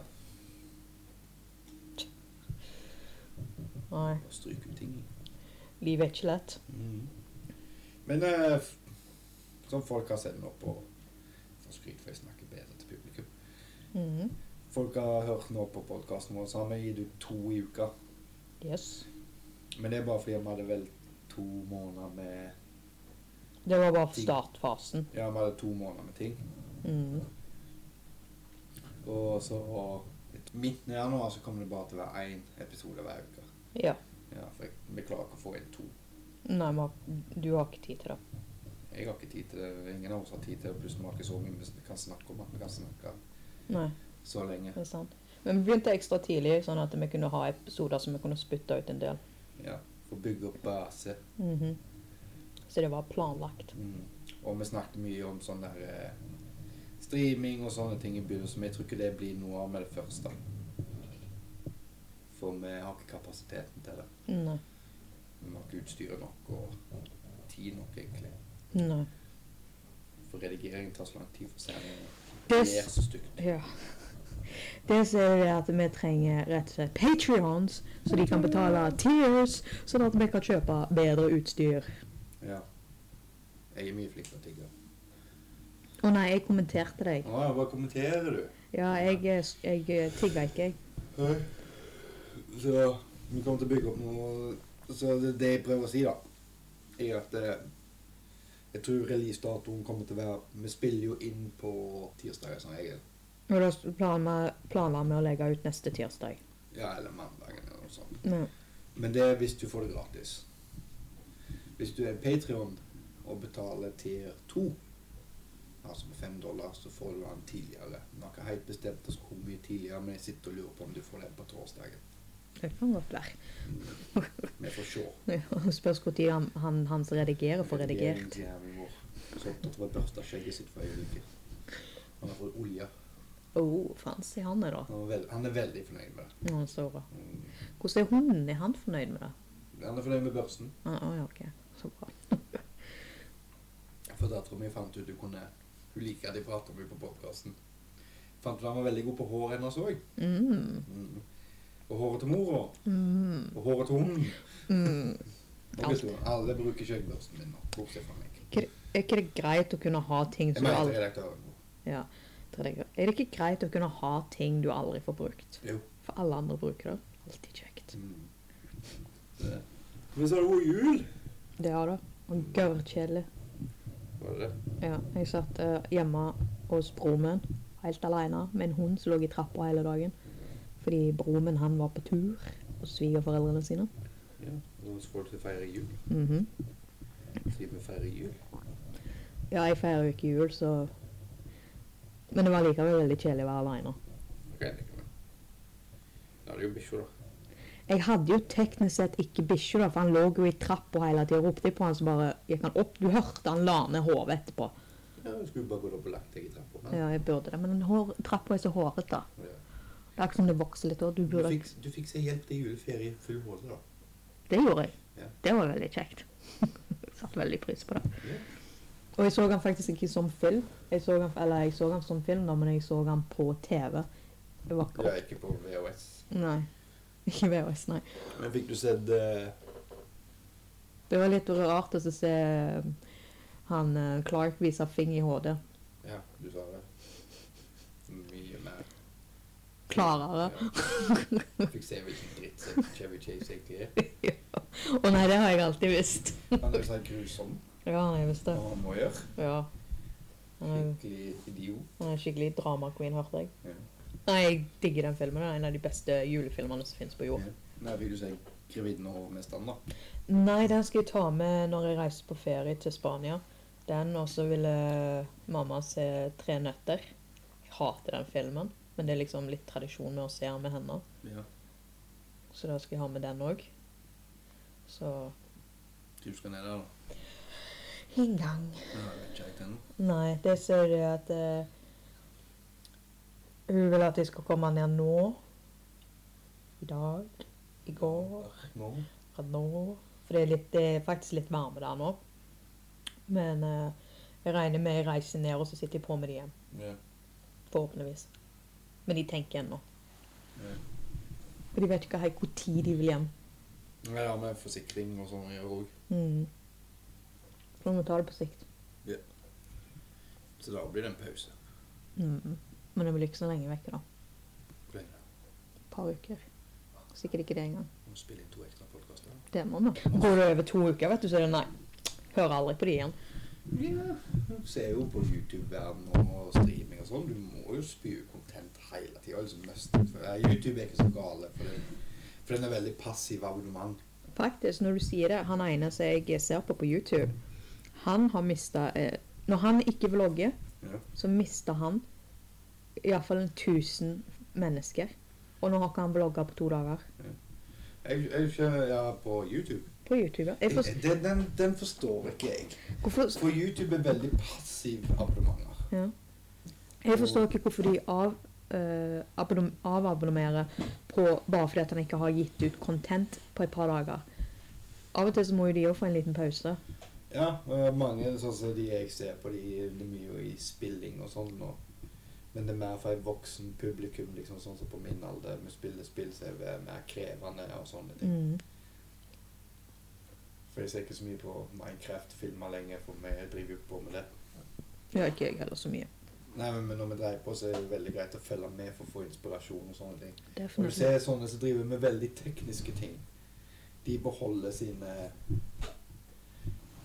Nei, Og stryke ut ting. livet er ikke lett. Men eh, f- som folk har sett nå på Får skryt for jeg snakker bedre til publikum. Mhm. Folk har hørt nå på podkasten vår, så har vi gitt ut to i uka. Yes. Men det er bare fordi vi hadde vel to måneder med Det var bare startfasen. Ja, vi hadde to måneder med ting. Mm. Og så et- midt i januar så kommer det bare til å være én episode hver uke. Ja. Ja, for jeg, vi klarer ikke å få inn to. Nei, vi har- du har ikke tid til det. Jeg har ikke tid til det. Ingen av oss har tid til det. Pluss vi har ikke så mye vi kan snakke om at vi kan snakke Nei, så lenge. det er sant. Men vi begynte ekstra tidlig, sånn at vi kunne ha episoder som vi kunne spytte ut en del. Ja, For å bygge opp base. Mhm. Så det var planlagt. Mm. Og vi snakket mye om sånn der eh, streaming og sånne ting i begynnelsen, men jeg tror ikke det blir noe av med det første. For vi har ikke kapasiteten til det. Nei. Vi har ikke utstyret nok og tid nok, egentlig. Nei. For redigering tar så lang tid for sendingen. Det Det, er s- så stygt. ja. det som er det at vi trenger rett og slett Patreons, så de kan betale tears, sånn at vi kan kjøpe bedre utstyr. Ja. Jeg er mye flink til å tigge. Å nei, jeg kommenterte deg. Å, ja, hva kommenterer du? Ja, jeg, eh, s- jeg eh, tigga ikke, jeg. Hei. Så vi kommer til å bygge opp noe Så det, det jeg prøver å si, da, er at eh, jeg tror releasedatoen kommer til å være Vi spiller jo inn på tirsdager som regel. Og da s- planla planla vi å legge ut neste tirsdag. Ja, eller mandagen eller noe sånt. Ja. Men det er hvis du får det gratis. Hvis du er Patrion og betaler tier 2, altså med 5 dollar, så får du den tidligere. Vi har ikke helt bestemt oss hvor mye tidligere, men jeg sitter og lurer på om du får den på torsdagen. Det kan godt være. Vi får se. Ja, Spørs når han, han, han som redigerer, får redigert. Redigeringsjævelen vår. Så opptatt av å børste skjegget sitt for øyeblikket. Han har fått olje. Oh, fancy han er, da. Han, var vel- han er veldig fornøyd med Å, det. han står da. Mm. Hvordan er hunden? Er han fornøyd med det? Han er fornøyd med børsten. Å å, ja, ok. Så bra. For dattera mi fant ut hun kunne Hun liker at jeg prater mye på podkasten. Fant ut han var veldig god på håret hennes òg. Mm. Mm. Og håret til mora. Mm. Og håret til hunden. Mm. Og vet du, Alle bruker skjeggbørsten min nå, bortsett fra meg. Er ikke det greit å kunne ha ting Jeg som du mener aldri redaktøren vår. ja. Er det ikke greit å kunne ha ting du aldri får brukt? Jo. For alle andre bruker det. Alltid kjekt. Mm. Det. Men så er det jo jul. Det har det. Og Gørrkjedelig. Var det det? Ja, jeg satt eh, hjemme hos broren min helt alene med en hund som lå i trappa hele dagen. Fordi broren min han var på tur hos svigerforeldrene sine. Ja. Nå skal du feire jul. Mhm. Siden vi feirer jul. Ja, jeg feirer jo ikke jul, så Men det var likevel veldig kjedelig å være alene. Ok, jeg tenker meg. Da er det jo bikkja, da. Jeg hadde jo teknisk sett ikke bikkje, da, for han lå jo i trappa hele tida og ropte på han, så bare gikk han opp. Du hørte han la ned hodet etterpå. Ja, du skulle bare gått opp og lagt deg i trappa. men- Ja, jeg burde det, men den hår, trappa er så hårete. Ja. Det er ikke som det vokser litt år. Du Du, burde fikk, du fikk se hjelp til juleferie full måte, da. Det gjorde jeg. Ja. Det var veldig kjekt. Satte veldig pris på det. Ja. Og jeg så han faktisk ikke som film. Jeg så han, eller jeg så han som film, da, men jeg så han på TV. Det var Du ikke er ikke på VHS. Nei. Ikke VHS, nei. Men fikk du sett eh, Det var litt rart å se um, han eh, Clark vise fing i HD. Ja, du sa det. Mye mer. Klarere. Ja. Fikk se hvilken dritt som Chevy Chase egentlig er. Å nei, det har jeg alltid visst. Han er jo sånn grusom, Ja, jeg visste hva det. han må gjøre. Ja. Han er- Skikkelig idiot. han er skikkelig drama-queen, hørte jeg. Ja. Nei, jeg digger den filmen. Det er en av de beste julefilmene som finnes på jord. Nei, fikk du se Grevinnen og hovmesteren, da? Nei, den skal jeg ta med når jeg reiser på ferie til Spania. Den, og så ville mamma se Tre nøtter. Jeg hater den filmen, men det er liksom litt tradisjon med å se den med henne. Ja. Så da skal jeg ha med den òg. Så Du skal ned der, da? En gang. Ja, jeg vet ikke helt ennå. Nei, det ser jeg at eh, Hun vil at jeg skal komme ned nå. I dag. I går. Nå? Fra nå. For det er, litt, det er faktisk litt varme der nå. Men eh, jeg regner med jeg reiser ned, og så sitter jeg på med det igjen. Ja. Forhåpentligvis. Men de tenker ennå. Ja. For de vet ikke helt hvor tid de vil hjem. Ja, ja, med forsikring og sånn å gjøre òg. Mm. Så vi må ta det på sikt. Så da blir det en pause. Mm. Men det blir ikke så lenge vekke, da. Hvor lenge da? Et par uker. Sikkert ikke det engang. Må spille inn to ekstra podkaster. Det må vi. Går det over to uker, vet du, så er det nei. Hører aldri på de igjen. Ja, du ser jo på YouTube-verden og streaming og sånn. Du må jo spy ut content hele tida. Liksom mest- for- YouTube er ikke så gale, for den, for den er veldig passiv abonnement. Faktisk, når du sier det, han ene som jeg ser på på YouTube, han har mista eh, Når han ikke vlogger, Ja. så mister han iallfall 1000 mennesker. Og nå har ikke han vlogga på to dager. Jeg, jeg, jeg er på YouTube. På YouTube. ja. Jeg forstår, Den, den, den forstår ikke jeg. hvorfor, For YouTube er veldig passiv abonnementer. jeg forstår ikke hvorfor de av, eh, abonnom, avabonnerer på bare fordi at han ikke har gitt ut content på et par dager. Av og til så må jo de òg få en liten pause. Ja, og mange sånn som de jeg ser på, de det er mye i spilling og sånn nå. Men det er mer for et voksen publikum, liksom sånn som på min alder. Vi spiller spill som er mer krevende og sånne ting. Mm. For jeg ser ikke så mye på Minecraft-filmer lenger, for vi driver jo ikke på med det. Ja, ikke jeg heller så mye. Nei, men når vi dreier på, så er det veldig greit å følge med for å få inspirasjon og sånne ting. Og du Definitivt. ser sånne som driver med veldig tekniske ting. De beholder sine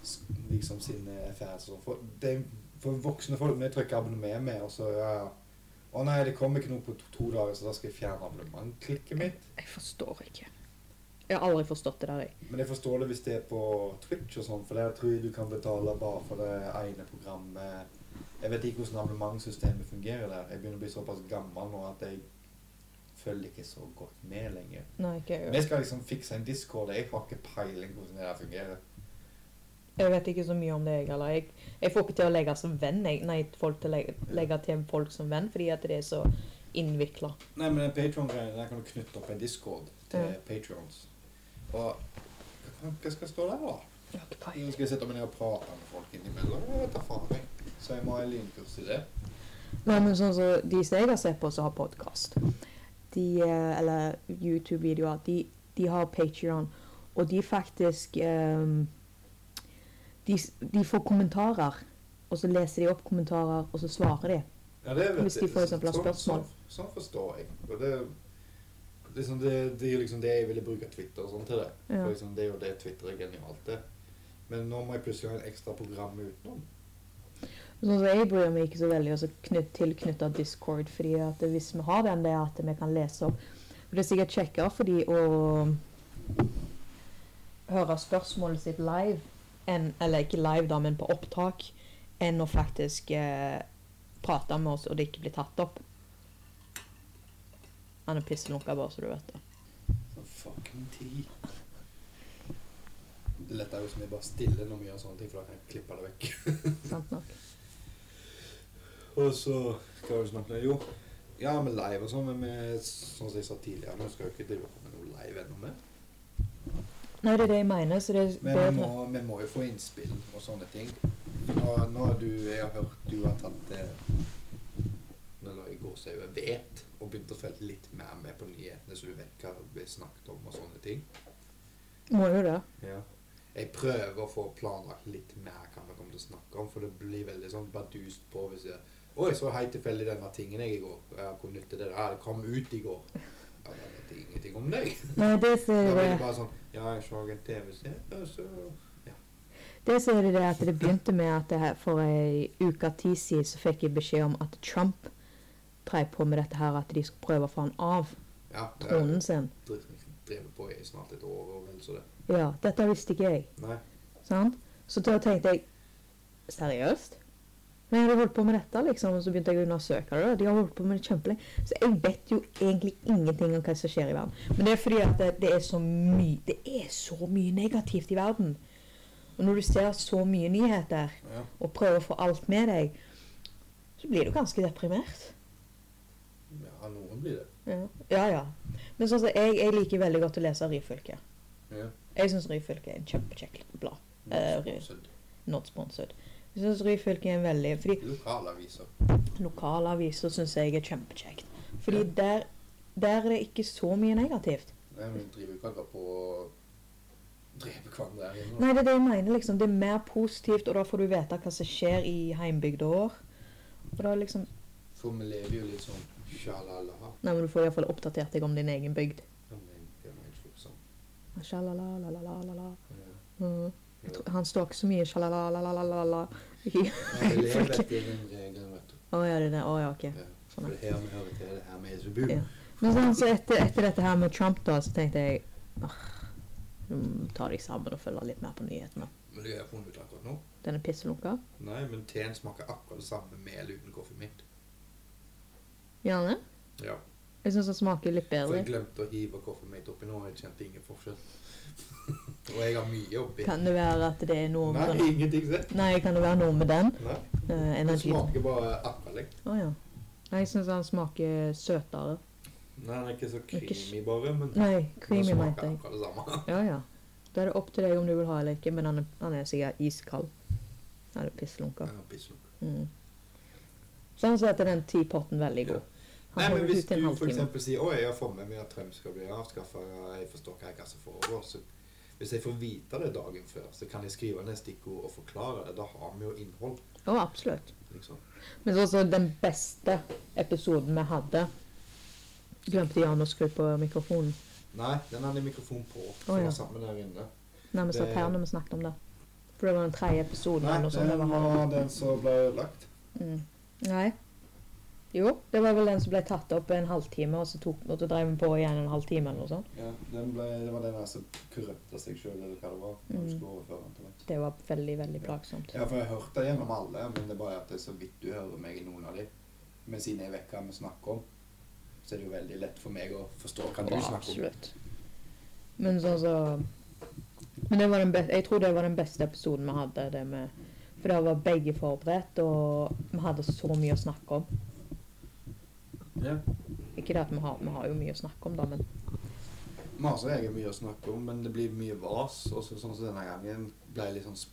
s- liksom sine affærer. og For, det, for voksne folk vi trykker abonnement med, og så ja, ja. Å nei, det kommer ikke noe på to, to dager, så da skal jeg fjerne abonnementklikket mitt. Jeg forstår ikke. Jeg har aldri forstått det der, jeg. Men jeg forstår det hvis det er på Twitch og sånn, for der tror jeg du kan betale bare for det ene programmet. Jeg vet ikke hvordan abonnementsystemet fungerer der. Jeg begynner å bli såpass gammel nå at jeg følger ikke så godt med lenger. Nei, ikke jeg. Vi skal liksom fikse en Discord. Jeg har ikke peiling hvordan det der fungerer. Jeg vet ikke så mye om det, jeg heller. Jeg, jeg får ikke til å legge som venn, jeg. Nei, folk til å legge, legge til folk som venn, fordi at det er så innvikla. Nei, men den Patron-greia, der kan du knytte opp en Discord til Ja. Patrons. Og hva faen- hva skal stå der, da? Nå skal jeg sette meg ned og prate med folk innimellom. Jeg vet da faen, jeg. Så jeg må ha en lynkurs i det. Nei, men sånn som de som jeg har sett på, som har podkast, de eh, Eller YouTube-videoer. De, de har Patrion, og de faktisk ehm, de, s- de får kommentarer, og så leser de opp kommentarer, og så svarer de. Ja, det vet Hvis de jeg. for eksempel har Sånn- spørsmål. Sånn, sånn forstår jeg. Og det, det, er sånn, det, det er liksom det jeg ville bruke Twitter og sånn til det. Ja. For liksom, det er jo det Twitter er genialt til. Men nå må jeg plutselig ha en ekstra program utenom. Sånn som Jeg bryr meg ikke så veldig å knytt, tilknytte Discord, fordi at hvis vi har den, det er at vi kan lese opp. Og Det er sikkert kjekkere for de å høre spørsmålet sitt live, enn, eller ikke live, da, men på opptak, enn å faktisk eh, prate med oss og det ikke blir tatt opp. Han er pisselunka, bare så du vet det. Så Sånn fucking tid. Det lette er jo som jeg bare stiller når vi gjør sånne ting, for da kan jeg klippe det vekk. Sant nok? Og så Hva var det du snakket om? Jo, ja, med live og sånn, men med, sånn som jeg sa tidligere, vi skal jo ikke drive på med noe live ennå. men- Nei, det er det jeg mener. så det er Men bedre. vi må, vi må jo få innspill og sånne ting. Og nå har du Jeg har hørt du har tatt det Nå la jeg gå så jeg vet, og begynt å følge litt mer med på nyhetene, så du vet hva det blir snakket om og sånne ting. Må jo det. Ja. Jeg prøver å få planlagt litt mer hva vi kommer til å snakke om, for det blir veldig sånn bardust på hvis jeg Oi, så helt tilfeldig denne tingen jeg i går. Ja, hvor nytt er det? Ja, det kom ut i går. Ja, men jeg vet ingenting om deg. Nei, det Da ser blir jeg. det bare sånn Ja, jeg så en TV-serie, og så Det så er det det at det begynte med at det her, for ei uke tid siden så fikk jeg beskjed om at Trump drev på med dette her, at de skulle prøve å få han av Ja. det er- tronen sin. drevet liksom på i snart et år og vel så det. Ja, dette visste ikke jeg. Nei. Sant? Så da tenkte jeg Seriøst? Men jeg hadde holdt på med dette, liksom, og så begynte jeg å undersøke det. De har holdt på med det kjempelenge. Så jeg vet jo egentlig ingenting om hva som skjer i verden. Men det er fordi at det, det er så mye Det er så mye negativt i verden. Og når du ser så mye nyheter Ja. og prøver å få alt med deg, så blir du ganske deprimert. ja, noen blir det. Ja, ja. ja. Men sånn som jeg, jeg liker veldig godt å lese Ryfylke. Ja. Jeg syns Ryfylke er en kjempekjekk liten blad. Eh, ry- Sponsored. Not sponsored. Jeg syns Ryfylke er en veldig Fordi Lokalaviser. lokale aviser syns jeg er kjempekjekt. Fordi der, der er det ikke så mye negativt. Nei, men driver jo ikke akkurat på å drepe hverandre her inne. Nei, det er det jeg mener, liksom. Det er mer positivt, og da får du vite hva som skjer i heimbygda vår. Og da liksom For vi lever jo litt sånn sjalala. Nei, men du får iallfall oppdatert deg om din egen bygd. Ja, men det er jo helt sjukt sånn. Sjalalalalalala. Ja. Mm. Jeg tror, han står ikke så mye sjalalalalala. Ja, vi lever etter den regelen, vet du. Å ja, det er det. Å ja, ok. Ja. Sånn, For ja. det her vi hører til, det her vi er så bu. Ja. Men sånn, så etter, etter dette her med Trump, da, så tenkte jeg åh, nå må jeg ta deg sammen og følge litt mer på nyhetene. Men det har jeg funnet ut akkurat nå. Denne pisselunka. Nei, men teen smaker akkurat det samme med eller uten kaffe mitt. Gjerne. Ja. Jeg syns den smaker litt For bedre. jeg glemte å hive kaffe mitt oppi nå, og jeg kjente ingen forskjell. og jeg har mye oppi. Kan det være at det er noe med Nei, den? ingenting sett. Nei, kan det være noe med den? Nei, Uh, det energi? Å smaker bare akkurat likt. ja. Nei, Jeg syns den smaker søtere. Nei, den er ikke så Ikke creamy bare, men Nei, creamy, mente den smaker jeg. akkurat det samme. Ja, ja. Da er det opp til deg om du vil ha eller ikke, men han er, han er sikkert iskald. Ja, det er pisselunka. Ja, pisslunk. Mm. Sånn sett er den teapotten veldig god. Han Nei, men holder hvis ut i du en for halvtime. eksempel sier at jeg har fått med meg at Trump skal bli avskaffa, jeg forstår hva jeg kaster for så hvis jeg får vite det dagen før, så kan jeg skrive ned stikkord og forklare det. Da har vi jo innhold. Å, absolutt. liksom. Men så også den beste episoden vi hadde Glemte Jan å skru på mikrofonen. Nei, den hadde mikrofon på. Å, Oh, ja. ja. sammen der inne. Nei, vi satt Det- her når vi snakket om det. For det var den tredje episoden. Nei, eller noe sånt det den var. var den som ble ødelagt. Mm. Nei. Jo, det var vel den som ble tatt opp en halvtime, og så, tok, og så drev vi på igjen en halvtime eller noe sånt. Ja, den ble, det var den der som kurrøpte seg sjøl, eller hva det var. når Mm. du skulle overføre den til meg. Det var veldig, veldig plagsomt. Ja, for jeg hørte gjennom alle, men det er bare at det er så vidt du hører meg i noen av de. Men siden jeg vet hva vi snakker om, så er det jo veldig lett for meg å forstå hva du Ja, snakker om. absolutt. Men sånn så Men det var den beste, jeg tror det var den beste episoden vi hadde. Det med, for da var begge forberedt, og vi hadde så mye å snakke om. Ja. Ikke det at vi har, vi har jo mye å snakke om, da, men Vi har som regel mye å snakke om, men det blir mye vas. Og så, sånn som denne gangen ble litt sånn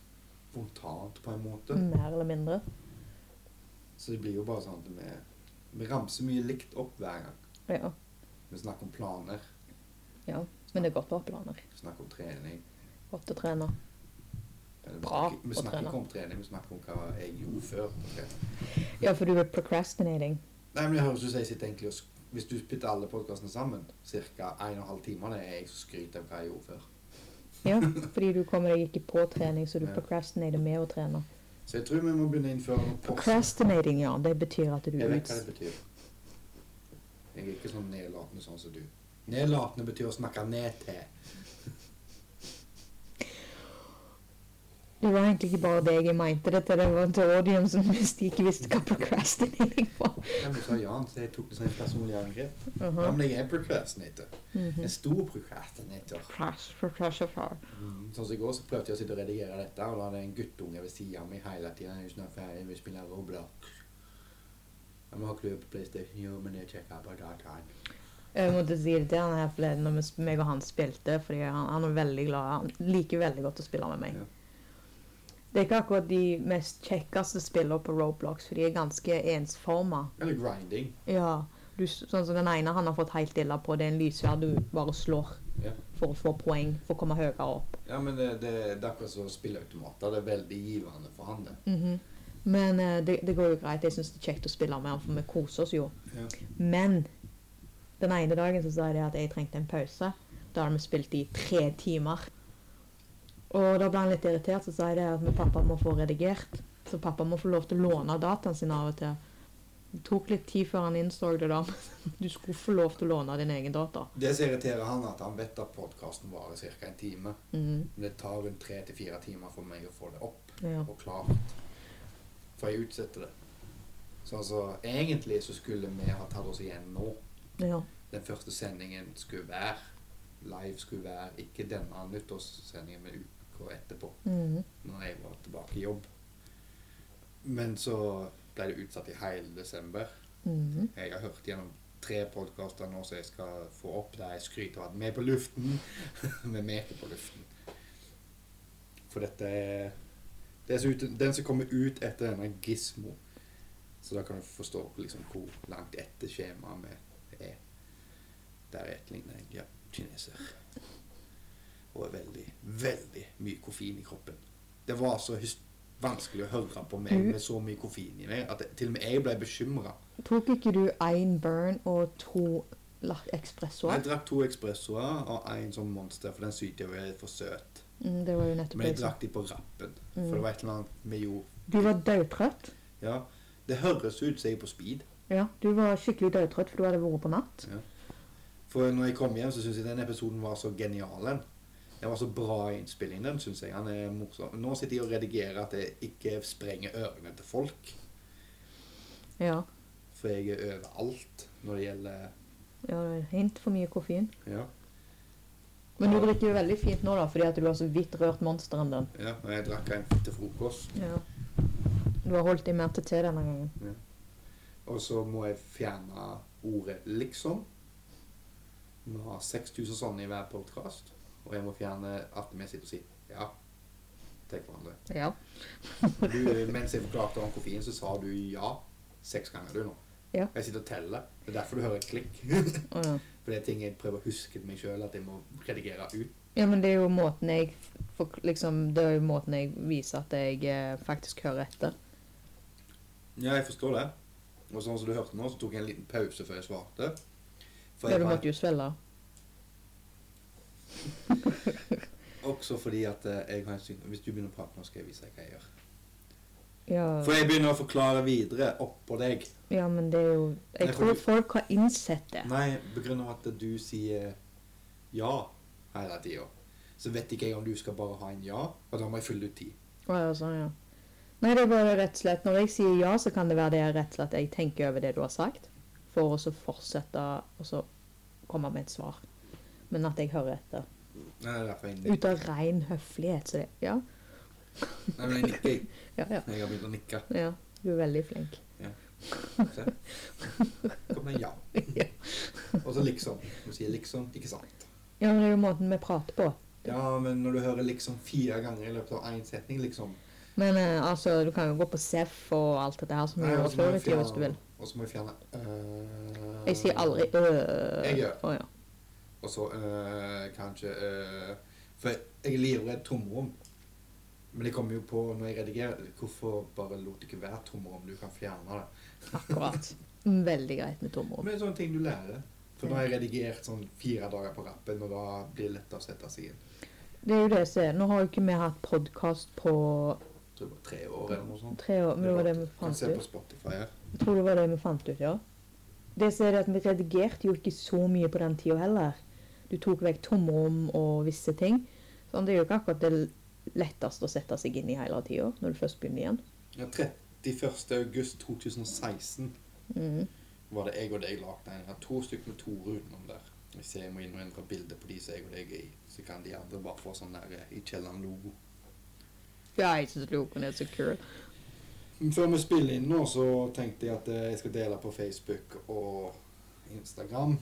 spontant på en måte. mer eller mindre. Så det blir jo bare sånn at vi, vi ramser mye likt opp hver gang. Ja. Vi snakker om planer, ja. Men det er godt å ha planer. vi snakker om trening. Godt å trene. Eller, vi Bra snakker- å Vi snakker trene. ikke om trening, vi snakker om hva jeg gjorde før. på trening. Ja, for du er procrastinating. Nei, men det høres ut som jeg sitter egentlig og sk- Hvis du spytter alle podkastene sammen, ca. 1 12 timer, det er jeg som skryter av hva jeg gjorde før. Ja, fordi du kommer deg ikke på trening, så du Ja. procrastinater med å trene. Så jeg tror vi må begynne å innføre noen post. Procrastinating, ja. Det betyr at du Jeg vet hva uts... det betyr. Jeg er ikke sånn nedlatende sånn som du. Nedlatende betyr å snakke ned til. Det var egentlig ikke bare deg jeg mente det til. Det var til audiencen hvis de ikke visste hva procrastinating var. Ja, men sa Jan, så jeg tok det som et personlig angrep. Ja, Mhm. men jeg er procrastinator. Mhm. En stor procrastinator. Crash, crash, crash. Sånn som i går så prøvde jeg å sitte og redigere dette, og da hadde jeg en guttunge ved siden av meg hele tiden. Jeg er jo snart ferdig, vi spiller Roblox. Ja, men har ikke du på Playstation? Jo, men jeg sjekker på dataen. Jeg måtte si det til han her forleden når vi sp- meg og han spilte, fordi han, han er veldig glad. Han liker veldig godt å spille med meg. Ja. Det er ikke akkurat de mest kjekkeste spillene på Roblox, for de er ganske ensforma. Eller grinding. Ja, du, s- sånn som den ene han har fått helt illa på, det er en lyssverd du bare slår Ja. for å få poeng, for å komme høyere opp. Ja, men det, det, det er akkurat som spilleautomater. Det er veldig givende for han, det. Mhm. Men eh, det, det går jo greit. Jeg syns det er kjekt å spille med han, for vi koser oss jo. Ja. Men den ene dagen så sa de at jeg trengte en pause. Da hadde vi spilt i tre timer. Og da ble han litt irritert, så sa jeg det at men pappa må få redigert. Så pappa må få lov til å låne dataen sin av og til. Det tok litt tid før han innså det, da. men Du skulle få lov til å låne din egen data. Det som irriterer han, er at han vet at podkasten varer ca. en time. Mhm, Men det tar rundt tre til fire timer for meg å få det opp ja. og klart. For jeg utsetter det. Så altså, egentlig så skulle vi ha tatt oss igjen nå. ja. Den første sendingen skulle være live, skulle være ikke denne nyttårssendingen, men uka etterpå. mhm. Når jeg var tilbake i jobb. Men så ble det utsatt i hele desember. Mhm. Jeg har hørt gjennom tre podkaster nå som jeg skal få opp, der jeg skryter av at vi er på luften. Men vi er ikke på luften. For dette er det er så ut, Den som kommer ut etter denne Gismo. Så da kan du forstå liksom hvor langt etter skjemaet vi er. Der etterligner jeg ja, kineser. Og er veldig, veldig mye koffein i kroppen. Det var så hys- vanskelig å høre på meg med så mye koffein i meg at det, til og med jeg ble bekymra. Tok ikke du én burn og to la- Jeg ekspressoer? drakk to ekspressoer og en sånn monster, for den syter jo er for søt. Mm, det var jo nettopp Men det jeg jeg sa. lagt de på rappen. Mm. For det var et eller annet vi gjorde Du var dødtrøtt. Ja, det høres ut som jeg er på speed. Ja, du var skikkelig dødtrøtt, for du hadde vært på natt. For når jeg kom hjem, så syns jeg den episoden var så genial. den. Den var så bra innspilling, den, syns jeg. Han er morsom. Nå sitter jeg og redigerer at jeg ikke sprenger ørene til folk. Ja. For jeg er overalt når det gjelder ja hint for mye koffein. Ja. Men du drikker jo veldig fint nå, da, fordi at du har så vidt rørt monsteren din. ja og jeg drakk en til frokost. Ja. Du har holdt deg mer til te denne gangen. Og så må jeg fjerne ordet 'liksom'. Vi har 6000 sånne i hver podkast. Og jeg må fjerne at vi sitter og sier 'ja' til hverandre. Ja. Du, mens jeg forklarte om koffein, så sa du ja seks ganger du nå. Ja. Jeg sitter og teller. Det er derfor du hører et klikk. Å, ja. For det er ting jeg prøver å huske til meg sjøl at jeg må redigere ut. ja, men det er jo måten jeg fork- liksom, Det er jo måten jeg viser at jeg eh, faktisk hører etter. Ja, jeg forstår det. Og sånn som du hørte nå, så tok jeg en liten pause før jeg svarte. For Ja, jeg du var, måtte jo svelge. også fordi at eh, jeg har en syn... Hvis du begynner å prate nå, skal jeg vise deg hva jeg gjør. Ja. For jeg begynner å forklare videre oppå deg. ja, men det er jo Nei, Jeg for tror du- folk har innsett det. Nei, på grunn av at du sier ja hele tida, så vet ikke jeg om du skal bare ha en ja, og da må jeg fylle ut tid. Å, ja, sånn, ja. Nei, det er bare rett og slett Når jeg sier ja, så kan det være det jeg rett og slett jeg tenker over det du har sagt, for å så fortsette å så komme med et svar. Men at jeg hører etter. Det er derfor jeg Ut av ren høflighet, så det Ja, Nei, men jeg nikker. jeg. ja, ja. Jeg har begynt å nikke. ja. Du er veldig flink. Se. Kom med ja. Og så liksom. Du sier liksom, ikke sant? Ja, men det er jo måten vi prater på. Ja, men når du hører liksom fire ganger i løpet av én setning, liksom Men eh, altså, du kan jo gå på SEF og alt dette her som vi Nei, og gjorde så må før jeg i tida, hvis du fjerne- vil. Og så må jeg fjerne øh, Jeg sier aldri øh. Jeg gjør. Å, ja. Og så øh, kanskje øh, For jeg er livredd tomrom. Men jeg kommer jo på når jeg redigerer Hvorfor bare lot det ikke være tomrom? Du kan fjerne det. Akkurat. Veldig greit med Men tomrom. det er sånne ting du lærer. For nå har jeg redigert sånn fire dager på rappen, og da blir det lettere å sette seg inn. Det er jo det som er Nå har jo ikke vi hatt podkast på Jeg tror det var tre år eller noe sånt. tre år, men det var det vi Kan fant se ut. på Spotify her. Jeg tror det var det vi fant ut, ja. Det som er det at Vi redigerte jo ikke så mye på den tida heller. Du tok vekk tomrom og visse ting. Sånn, det er jo ikke akkurat det letteste å sette seg inn i hele tida, når du først begynner igjen. Ja, 31. august 2016 Mm. var det jeg og deg lagde en. Jeg har to stykker med Tore utenom der. Jeg ser jeg må inn og endre bildet på de som jeg og deg er i. Så kan de andre bare få sånn der eh, i kjelleren-logo. Ja, jeg syns logoen er så kul. Før vi spiller inn nå, så tenkte jeg at eh, jeg skal dele på Facebook og Instagram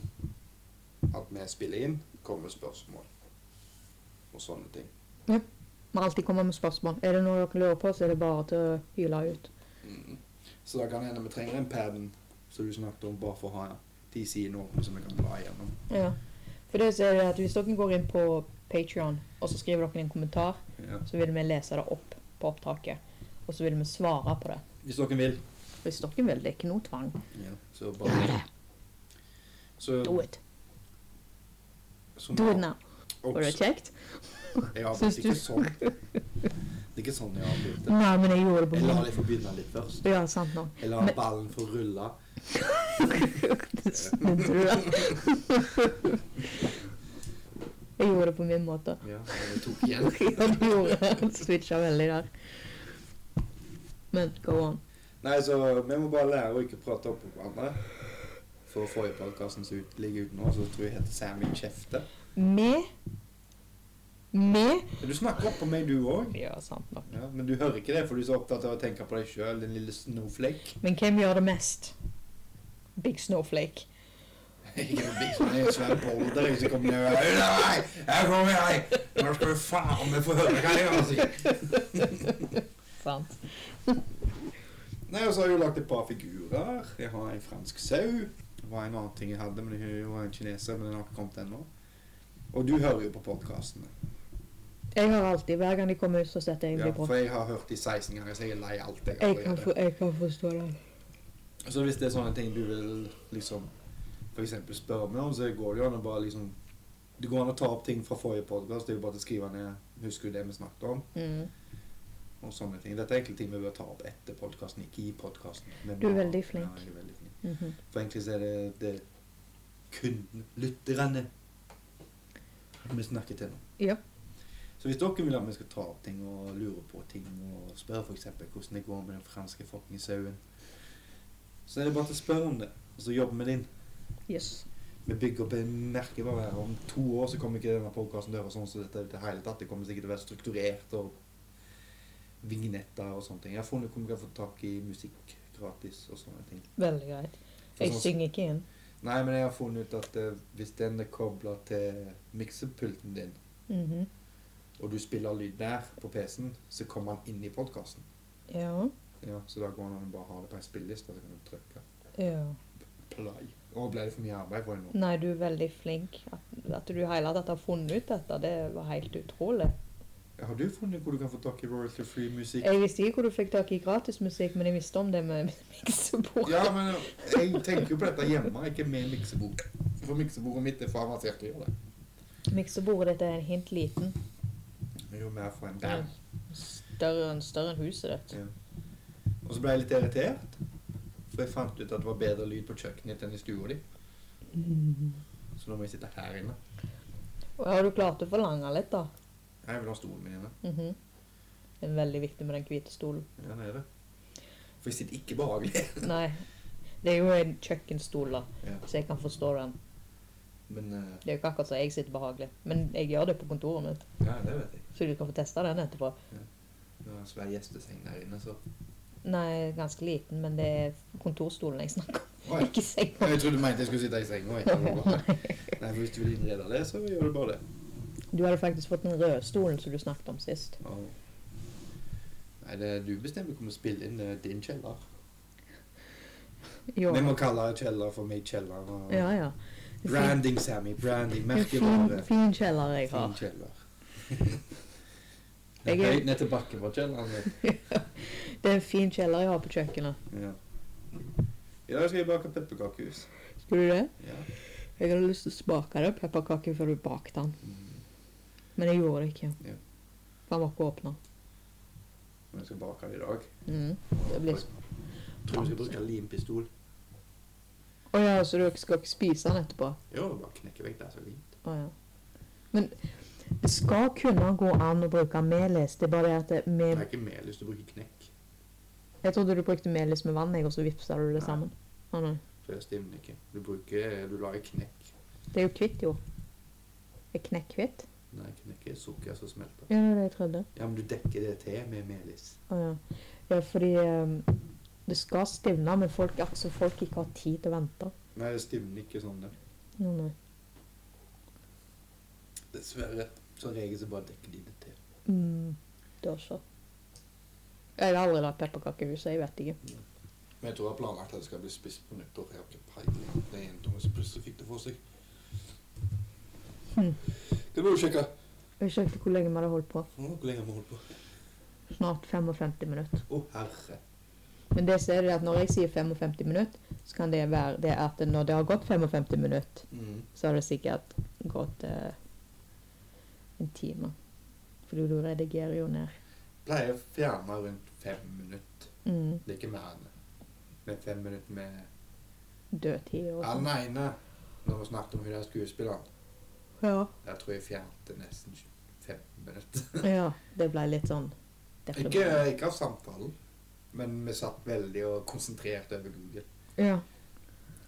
at vi spiller inn, kommer med spørsmål og sånne ting. Må alltid komme med spørsmål. Er det noe dere lurer på, så er det bare til å hyle ut. Mm. Så da kan det hende vi trenger den paden som du snakket om, bare for å ha de sidene åpne som vi kan bla igjennom. Ja. For det så er det at Hvis dere går inn på Patreon, og så skriver dere en kommentar, Ja. så vil vi lese det opp på opptaket. Og så vil vi svare på det. Hvis dere vil. Hvis dere vil, det er ikke noe tvang. Så bare så, Do it. som- Do it now. Ops, Var det kjekt? Jeg har Syns blitt du? ikke sånn. Det er ikke sånn jeg har blitt det. Nei, men jeg gjorde det Jeg på lar morgenen. dem få begynne litt først. Ja, sant nok. Jeg lar Men- ballen få rulle. Det Snudde du der? Jeg gjorde det på min måte. Ja, jeg tok igjen. Ja, du gjorde det. Switcha veldig der. Men go on. Nei, så vi må bare lære å ikke prate opp på hverandre. For forrige podkasten som ut- ligger ute nå, så tror jeg heter Sammy Kjefte. Med Med Men Du snakker opp på meg, du òg. Ja, sant nok. Ja, men du hører ikke det, for du er så opptatt av å tenke på deg sjøl, din lille snowflake. Men hvem gjør det mest? Big Snowflake. Jeg er en big- jeg er en svær boulder, jeg som kommer ned og «Unna meg! Her kommer jeg! Nå skal du faen meg få høre hva jeg har å si! Sant. Nei, og så har jeg jo lagt et par figurer. Jeg har en fransk sau. Det var en annen ting jeg hadde, men jeg var en kineser, men den har ikke kommet ennå. Og du hører jo på podkastene. Jeg har alltid, Hver gang de kommer ut, så setter jeg Ja, meg på. for jeg har hørt de 16 ganger, så jeg er lei alt jeg Jeg kan, allerede. for, jeg kan forstå det. Så hvis det er sånne ting du vil liksom for eksempel spørre meg om, så går det jo an å bare liksom Det går an å ta opp ting fra forrige podkast. Det er jo bare å skrive ned Husker du det vi snakket om? Mm. Og sånne ting. Dette er egentlig ting vi bør ta opp etter podkasten, ikke i podkasten. Du er veldig flink. Ja, jeg er veldig flink. Mhm. For egentlig så er det, det er kunden, lytterne, vi snakker til nå. Ja. Så hvis dere vil at vi skal ta opp ting og lure på ting og spørre f.eks. hvordan det går med den franske fuckings sauen, så er det bare til å spørre om det, og så jobber vi det inn. Yes. Vi bygger opp en merkevare. her. Om to år så kommer ikke denne podkasten til å være sånn som dette i det hele tatt. Det kommer sikkert til å være strukturert og vignetter og sånne ting. Jeg har funnet ut hvor vi kan få tak i musikk gratis og sånne ting. Veldig greit. For Jeg sånn- synger ikke igjen. Nei, men jeg har funnet ut at eh, hvis den er kobla til miksepulten din, Mhm. og du spiller lyd der på PC-en, så kommer den inn i podkasten. Ja. Ja, så da går det an å bare ha det på en spilleliste, så kan du trykke ja. play. Og ble det for mye arbeid for deg nå? Nei, du er veldig flink. At, at du i hele tatt har funnet ut dette, det var helt utrolig. Har du funnet hvor du kan få tak i royalty free musikk? Jeg visste ikke hvor du fikk tak i gratismusikk, men jeg visste om det med miksebord. Ja, men jeg tenker jo på dette hjemme, ikke med miksebord. For miksebordet mitt er for avansert til å gjøre det. Miksebordet ditt er en hint liten. Det er jo mer for en band. Større enn større enn huset ditt. Ja. Og så ble jeg litt irritert, for jeg fant ut at det var bedre lyd på kjøkkenet ditt enn i stua di. Så nå må jeg sitte her inne. Og har du klart å forlange litt, da? Jeg vil ha stolen min inne. Mhm. Det er veldig viktig med den hvite stolen. Ja, det er det. For jeg sitter ikke behagelig. Nei, det er jo en kjøkkenstol, da, Ja. så jeg kan forstå den. Men eh, Det er jo ikke akkurat så jeg sitter behagelig, men jeg gjør det på kontoret mitt. ja, det vet jeg. Så du kan få testa den etterpå. Det er en svær gjesteseng der inne, så Nei, ganske liten, men det er kontorstolen jeg snakker om, Å, ja. ikke senga. Jeg trodde du mente jeg skulle sitte i senga. jeg. Nei, for hvis du vil innrede det, så gjør du bare det. Du hadde faktisk fått den røde stolen som du snakket om sist. Ja. Nei, det er du bestemmer hvor vi spiller inn. Det er din kjeller. Jo. Vi må kalle kjeller for min kjeller. Og Ja, ja. En fin- Branding, Sammy. Branding. En fin, Merkevare. fin kjeller jeg Fin har. kjeller. Jeg er- Høyt ned til bakken på kjelleren. Det er en fin kjeller jeg har på kjøkkenet. Ja. I dag skal jeg bake pepperkakehus. Skal du det? Ja. Jeg hadde lyst til å smake det pepperkaken før du bakte den, Mm. men jeg gjorde det ikke. Ja. For den var ikke åpna. Men jeg skal bake det i dag. Mm. Det blir s- Tror du skal bruke limpistol? Å ja, så du skal ikke spise den etterpå? Ja, bare knekke vekk det som er limt. Å ja. Men det skal kunne gå an å bruke melis. Det er bare det at det- Jeg med har ikke mer lyst til å bruke knekk. Jeg trodde du brukte melis med vann, jeg, og så vipsa du det Nei. sammen. Å nei. For det stivner ikke. Du bruker Du lager knekk. Det er jo kvitt, jo. Er knekk hvitt? Nei, knekk er sukker som smelter. Ja, det er det jeg trodde. Ja, men du dekker det til med melis. Å ja. Ja, fordi eh, det skal stivne, men folk, altså, folk ikke har tid til å vente. Nei, det stivner ikke sånn. det. Å nei. Dessverre. Som regel så bare dekker de det til. Mm. Det er så. Jeg har aldri lagd pepperkakehus, jeg vet ikke. Men jeg tror jeg har planlagt at det skal bli spist på nyttår. Jeg har ikke peiling. Det er en tunge som plutselig fikk det for seg. Hm. Det må du sjekke. Jeg sjekket hvor lenge vi hadde holdt på. Nå, hvor lenge har vi holdt på? Snart 55 minutter. Å, herre. Men det som er det at når jeg sier 55 minutter, så kan det være det at når det har gått 55 minutter, Mm. så har det sikkert gått eh, en time. Fordi du redigerer jo ned. Pleier å fjerne rundt fem minutter. Mm. Det er ikke mer enn det. Men fem minutter med Dødtid og sånn. Han ene, når vi snakket om hun der skuespilleren, Ja. der tror jeg fjernte nesten 15 minutter. ja. Det ble litt sånn Ikke, deprimerende. ikke av samtalen, men vi satt veldig og konsentrert over Google. Ja.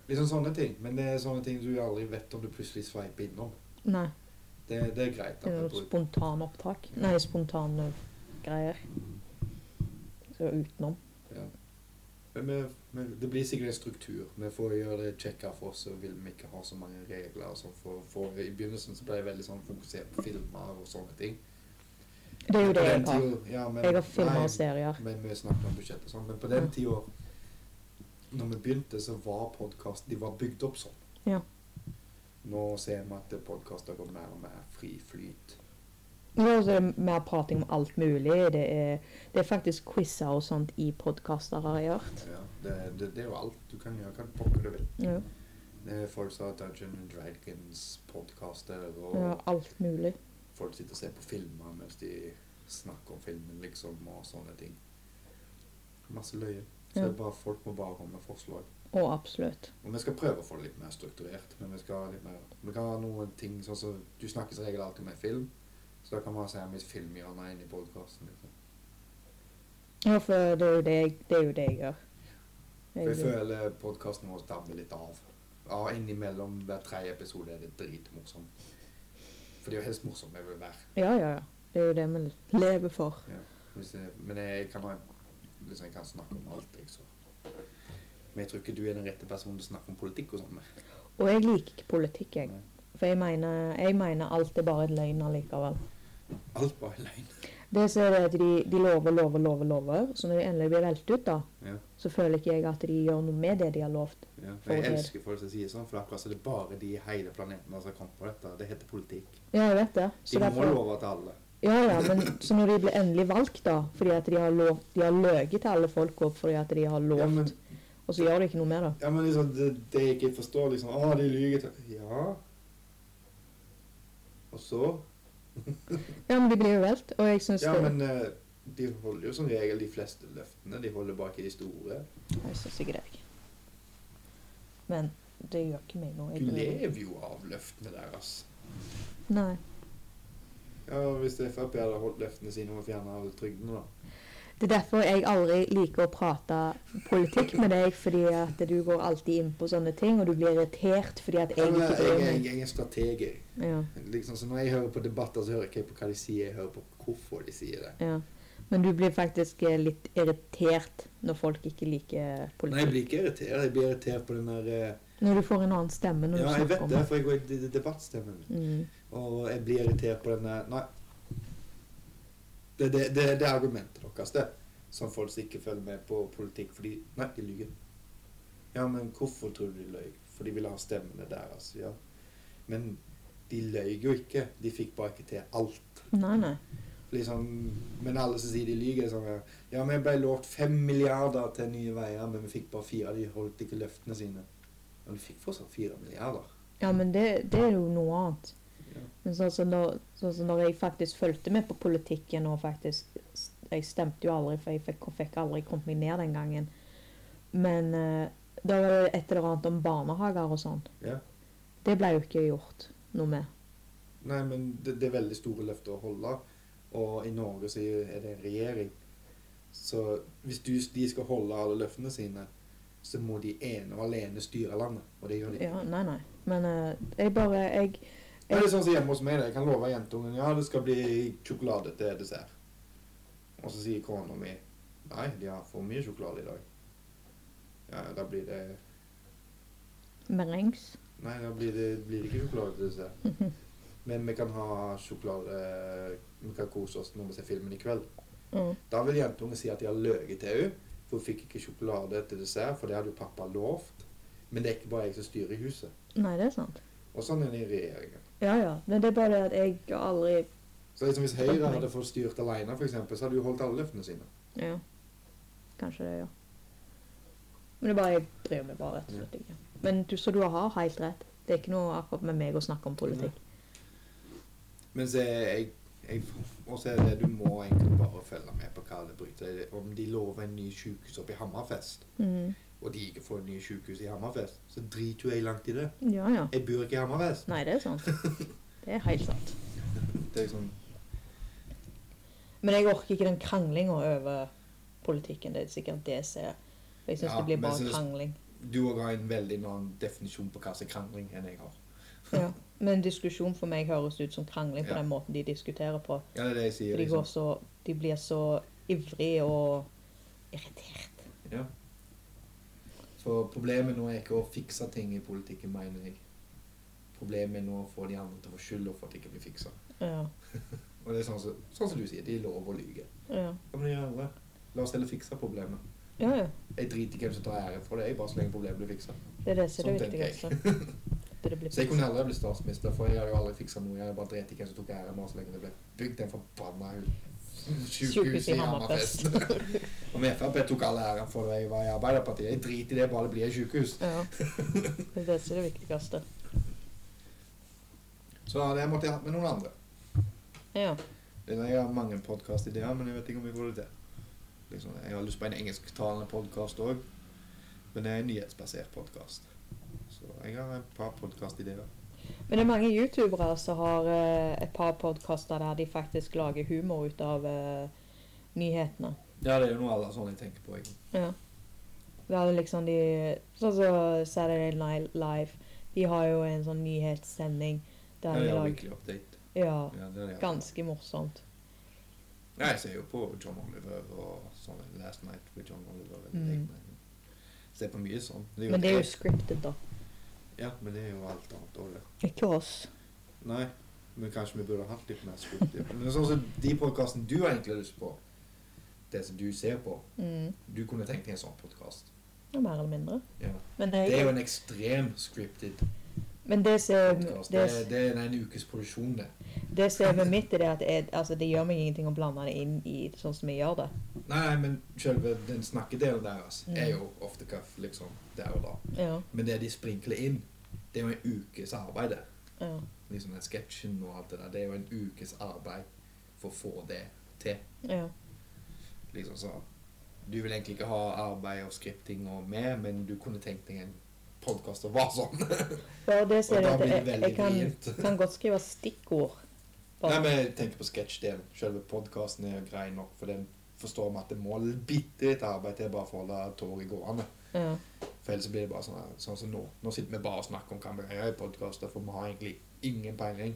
Liksom sånne ting. Men det er sånne ting du aldri vet om du plutselig sveiper innom. Nei. Det, det er greit. Det at er vi jo bruker- spontanopptak. Nei, spontane greier. Så utenom. Ja. Men vi, vi, det blir sikkert en struktur. Vi får gjøre det kjekkere for oss, og vil vi ikke ha så mange regler. Og sånn for, for I begynnelsen så ble jeg veldig sånn fokusert på filmer og sånne ting. Det er jo det På jeg den har. tiden- ja, men- Jeg har filmer nei, og serier. Men vi snakket om budsjett og sånn. Men på den tida når vi begynte, så var podkast De var bygd opp sånn. Ja. Nå ser vi at podkaster går mer og mer fri flyt. Nå er det mer prating om alt mulig. Det er, det er faktisk quizer og sånt i podkaster, har jeg hørt. Ja, det, det, det er jo alt du kan gjøre. Kan pokker du vil. Ja. Det er Folk som har Dungeon and Dragons-podkaster og Ja, alt mulig. folk sitter og ser på filmer mens de snakker om filmen, liksom, og sånne ting. Masse løye. Så Ja. det er bare, folk må bare komme med forslag. Å, absolutt. Og vi skal prøve å få det litt mer strukturert. Men vi skal ha litt mer Vi kan ha noen ting sånn som Du snakker som regel alltid om en film. Så da kan vi ha sånn mitt filmhjørne inn i podkasten. Liksom. Ja, for det er jo det jeg, det er jo det jeg gjør. For jeg Jeg- føler podkasten vår dabber litt av. Ja, innimellom hver tredje episode er det dritmorsomt. For det er jo helst morsomt vi vil være. Ja, ja, ja. Det er jo det vi lever for. Hvis jeg, men jeg kan, ha- liksom, jeg kan snakke om alt, jeg, så. Men jeg tror ikke du er den rette personen til å snakke om politikk og sånn med. Og jeg liker ikke politikk, jeg. Nei. For jeg mener, jeg mener alt er bare en løgn allikevel. Alt bare er løgn. Det som er det at de, de lover, lover, lover, lover. Så når de endelig blir velt ut, da, Ja. så føler ikke jeg at de gjør noe med det de har lovt. Ja, For jeg å høre. elsker folk som sier sånn, for akkurat så er det bare de i hele planeten som har kommet på dette. Det heter politikk. Ja, jeg vet det. De Så må derfor, love til alle. ja, ja, men så når de blir endelig valgt, da, fordi at de har, lov, de har løyet til alle folk og fordi at de har lovt, Ja, men, og så gjør de ikke noe med det. ja, men liksom, det, det jeg ikke forstår, liksom Å, de lyver til Ja. Og så Ja, men de blir jo valgt, og jeg syns Ja, det men eh, de holder jo som regel de fleste løftene. De holder bak i de store. Jeg syns ikke det. jeg. Men det gjør ikke meg noe. Du Jeg lever jo av løftene deres. Nei. Ja, hvis Frp hadde holdt løftene sine om å fjerne all trygden, da. Det er derfor jeg aldri liker å prate politikk med deg, fordi at du går alltid inn på sånne ting, og du blir irritert fordi at Ja, jeg men, ikke jeg, bryr jeg, meg. jeg er strateg, jeg. Ja, Liksom, så når jeg hører på debatter, så hører jeg ikke på hva de sier, jeg hører på hvorfor de sier det. ja. Men du blir faktisk eh, litt irritert når folk ikke liker Nei, jeg politikk. blir ikke irritert. Jeg blir irritert på den der eh, Når du får en annen stemme når Ja, du jeg snakker vet om det, det. for jeg går i de- de- debattstemmen. Mm. Og jeg blir irritert på den der Nei. Det, det, det, det er argumentet deres, det. Som folk som ikke følger med på politikk fordi Nei, de lyver. Ja, men hvorfor tror du de løy? For de ville ha stemmene deres. Ja. Men de løy jo ikke. De fikk bare ikke til alt. Nei, nei. liksom, men alle som sier de lyver, er sånn Ja, vi ble lovt fem milliarder til Nye Veier, men vi fikk bare fire. De holdt ikke løftene sine. Men vi fikk fortsatt fire milliarder. Ja, men det, det er jo noe annet. Ja. Men sånn som når, sånn som når jeg faktisk fulgte med på politikken og faktisk Jeg stemte jo aldri, for jeg fikk, fikk aldri kommet meg ned den gangen. Men eh, da var det et eller annet om barnehager og sånn. Ja. Det ble jo ikke gjort noe med. Nei, men det, det er veldig store løfter å holde. Og i Norge så er det en regjering. Så hvis du, de skal holde alle løftene sine, så må de ene og alene styre landet. Og det gjør de. Ja, nei, nei. Men eh, jeg bare Jeg Det er sånn som hjemme hos meg. da. Jeg kan love jentungen ja, det skal bli sjokolade til dessert. Og så sier kona mi nei, de har for mye sjokolade i dag. Ja, da blir det merengs. Nei, da blir det, blir det ikke sjokolade til dessert. Men vi kan ha sjokolade Vi kan kose oss når vi ser filmen i kveld. Mm. Da vil jentungen si at de har løyet til henne, for hun fikk ikke sjokolade til dessert, for det hadde jo pappa lovt. Men det er ikke bare jeg som styrer i huset. Nei, det er sant. Og sånn er det i regjeringen. Ja, ja. Men det er bare det at jeg har aldri Så liksom Hvis Høyre hadde fått styrt alene, for eksempel, så hadde jo holdt alle løftene sine. Ja. Kanskje det, ja. Men det er bare, jeg bryr meg bare rett og slett ikke. Men du, så du har helt rett. Det er ikke noe akkurat med meg å snakke om politikk. Men så er jeg, jeg og så er det du må egentlig bare følge med på hva det bryter. Om de lover en ny sykehus oppe i Hammerfest, Mhm. og de ikke får en ny sykehus i Hammerfest, så driter jo jeg langt i det. Ja, ja. Jeg bor ikke i Hammerfest. Nei, det er sant. Det er helt sant. Det er liksom, Men jeg orker ikke den kranglinga over politikken. Det er sikkert det jeg ser. Jeg syns Ja, det blir men bare synes- krangling. du òg har en veldig annen definisjon på hva som er krangling enn jeg har. Ja. Men diskusjon for meg høres ut som krangling på Ja. den måten de diskuterer på. Ja, det er det jeg For sier. de, går Liksom. så, de blir så ivrige og irritert. Ja. For problemet nå er ikke å fikse ting i politikken, mener jeg. Problemet er nå å få de andre til å få skylda for at det ikke blir fiksa. Ja. Og det er sånn som, sånn som du sier, de lover å lyge. Ja, Ja, men det gjør alle. La oss heller fikse problemet. ja. ja. Jeg driter i hvem som tar æren for det. Jeg bare slenger problemet blir fiksa. Det er det som er Sånn det tenker jeg. viktigste. At det blir Så jeg kunne aldri blitt statsminister, for jeg hadde jo aldri fiksa noe. Jeg hadde bare drept i hvem som tok æren, bare så lenge det ble bygd en forbanna Sjukehus sjukehus i i Hammerfest. Og med Frp tok all æren for det jeg var i Arbeiderpartiet. Jeg driter i det, bare det blir et sjukehus. Ja. Det er det som er det viktigste. Så det måtte jeg hatt med noen andre. Ja. Det er når Jeg har mange podkastideer, men jeg vet ikke om jeg får det til. Liksom, jeg har lyst på en engelsktalende podkast òg, men det er en nyhetsbasert podkast. Så jeg har et par podkastideer. Men det er mange youtubere som har eh, et par podkaster der de faktisk lager humor ut av eh, nyhetene. Ja, det er jo noe alle sånne jeg tenker på. Jeg. Ja. Der det liksom de Sånn som Saturday Night Live. De har jo en sånn nyhetssending Ja, der det de er lager Weekly Update. Ja. Ja, det er det. Ganske morsomt. Ja, jeg ser jo på John Oliver og sånn Last Night with John Oliver. eller Mm. lignende. Ser på mye sånn. Men det er jo scripted, da. Ja, men det er jo alt annet òg, det. Ikke oss. Nei, men kanskje vi burde hatt litt mer skudd. Men sånn som de podkastene du har egentlig har lyst på, det som du ser på Mm. Du kunne tenkt deg en sånn podkast. Ja, mer eller mindre. Ja. Men det, Det er jo en ekstrem scripted men det som er- podkast. Det, det- det er en ukes produksjon, det. det som er med mitt, er det at jeg, altså, det gjør meg ingenting å blande det inn i sånn som vi gjør det. Nei, nei, men selve den snakkedelen deres Mm. er jo off the cuff, liksom. Der og da. Ja. Men det de sprinkler inn, det er jo en ukes arbeid, det. ja. Liksom den sketsjen og alt det der. Det er jo en ukes arbeid for å få det til. ja. liksom så Du vil egentlig ikke ha arbeid og skripting og med, men du kunne tenkt deg en podkast som var sånn. Ja, det ser jeg Og da at blir jeg, det jeg veldig kan, vrient. kan godt skrive stikkord. Nei, Bare- men jeg tenker på sketsjdelen. Selve podkasten er grei nok, for den forstår vi at det må bitte litt arbeid til bare for å holde toget gående. Ja. For ellers så blir det bare sånn, her- sånn som nå. Nå sitter vi bare og snakker om hva vi gjør i podkaster, for vi har egentlig ingen peiling.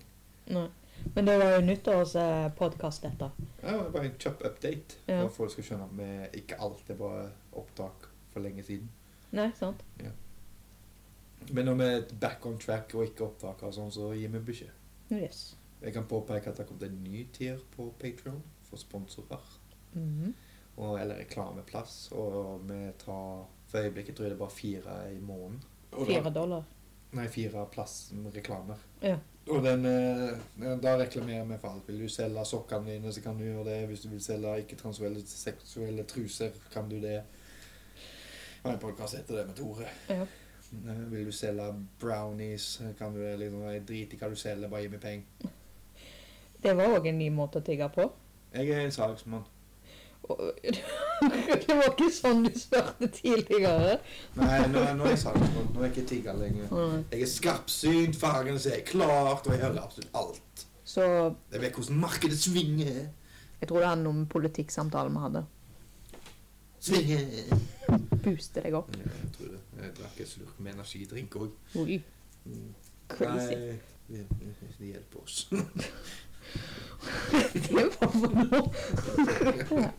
Nei. Men det var jo nyttårspodkast, dette. Ja, det er bare en kjapp update, Ja. for at folk skal skjønne at vi ikke alltid bare opptak for lenge siden. Nei, sant? Men når vi er back on track og ikke opptaker og sånn, så gir vi beskjed. Yes. Jeg kan påpeke at det har kommet en ny tier på Patreon for sponsorer Mhm. og, eller reklameplass. Og vi tar For øyeblikket tror jeg det er bare fire i måneden. Og da- Fire dollar. Nei, fire plass med reklamer. Ja. Og den, eh, da reklamerer vi for alt. Vil du selge sokkene dine, så kan du gjøre det. Hvis du vil selge ikke-transuelle seksuelle truser, kan du det. Og en podkast heter det med Tore. Ja. Eh, Vil du selge brownies, kan du det. Liksom, jeg driter i hva du selger, bare gi meg penger. Det var òg en ny måte å tigge på. Jeg er en salgsmann. Og- Det var ikke sånn du spurte tidligere. Nei, nå, nå er jeg salgsmann. Nå er jeg ikke tigger lenger. Jeg er skarpsynt, fargen ser jeg klart, og jeg hører absolutt alt. Så Jeg vet hvordan markedet svinger. jeg tror det handler om politikksamtalen vi hadde. Svinger. Booste deg opp. Jeg tror det. Jeg drakk en slurk med energidrink òg. Oi. Crazy. Nei, det, det hjelper oss. Det var for noe.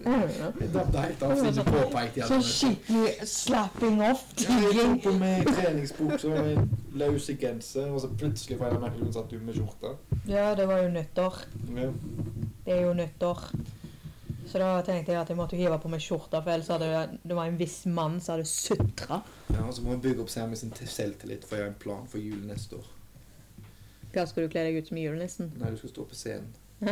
Ja, ja. Jeg datt helt av siden du påpekte Så Sånn skikkelig slapping Jeg tok off-tigging. på meg treningsbukse og en løs genser, og så plutselig fra en eller annen grunn satt du med skjorte. Ja, det var jo nyttår. Ja. Det er jo nyttår. Så da tenkte jeg at jeg måtte hive på meg skjorta, for ellers hadde jeg- det var en viss mann som hadde sutra. Ja, og så må vi bygge opp Sammy sin til- selvtillit, for jeg har en plan for jul neste år. Hva skal du kle deg ut som i julenissen? Nei, du skal stå på scenen. Du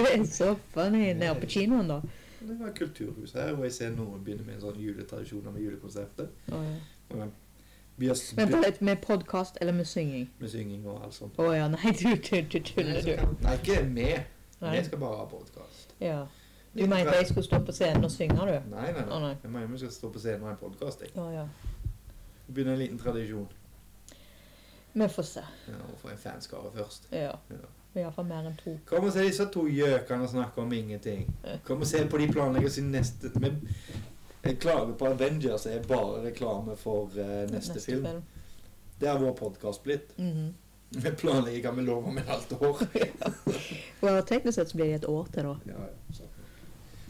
er så funny nede på kinoen, da. Det var kulturhus her, og jeg ser noen begynne med en sånn juletradisjoner med julekonseptet. Og de blir s- Men på litt med podkast eller med synging? med synging og alt sånt. Å ja, nei, du, du, du tuller, du. Nei, ikke med. Nei. Jeg skal bare ha podkast. Ja. Du mente jeg skulle stå på scenen og synge, du? Nei, nei, Å, nei. nei. Jeg mener vi skal stå på scenen og ha en podkast. Å ja. Begynne en liten tradisjon. Vi får se. Ja, og få en fanskare først. Ja. Ja. Iallfall mer enn to. Kom og se disse to gjøkene og snakke om ingenting. Kom og se på de planlegger sin neste Men jeg klager på Avengers er bare reklame for eh, neste, film. Det har vår podkast blitt. Mhm. Vi planlegger hva vi lover om et halvt år. Og teknisk sett så blir det et år til, da. Ja, ja, sant.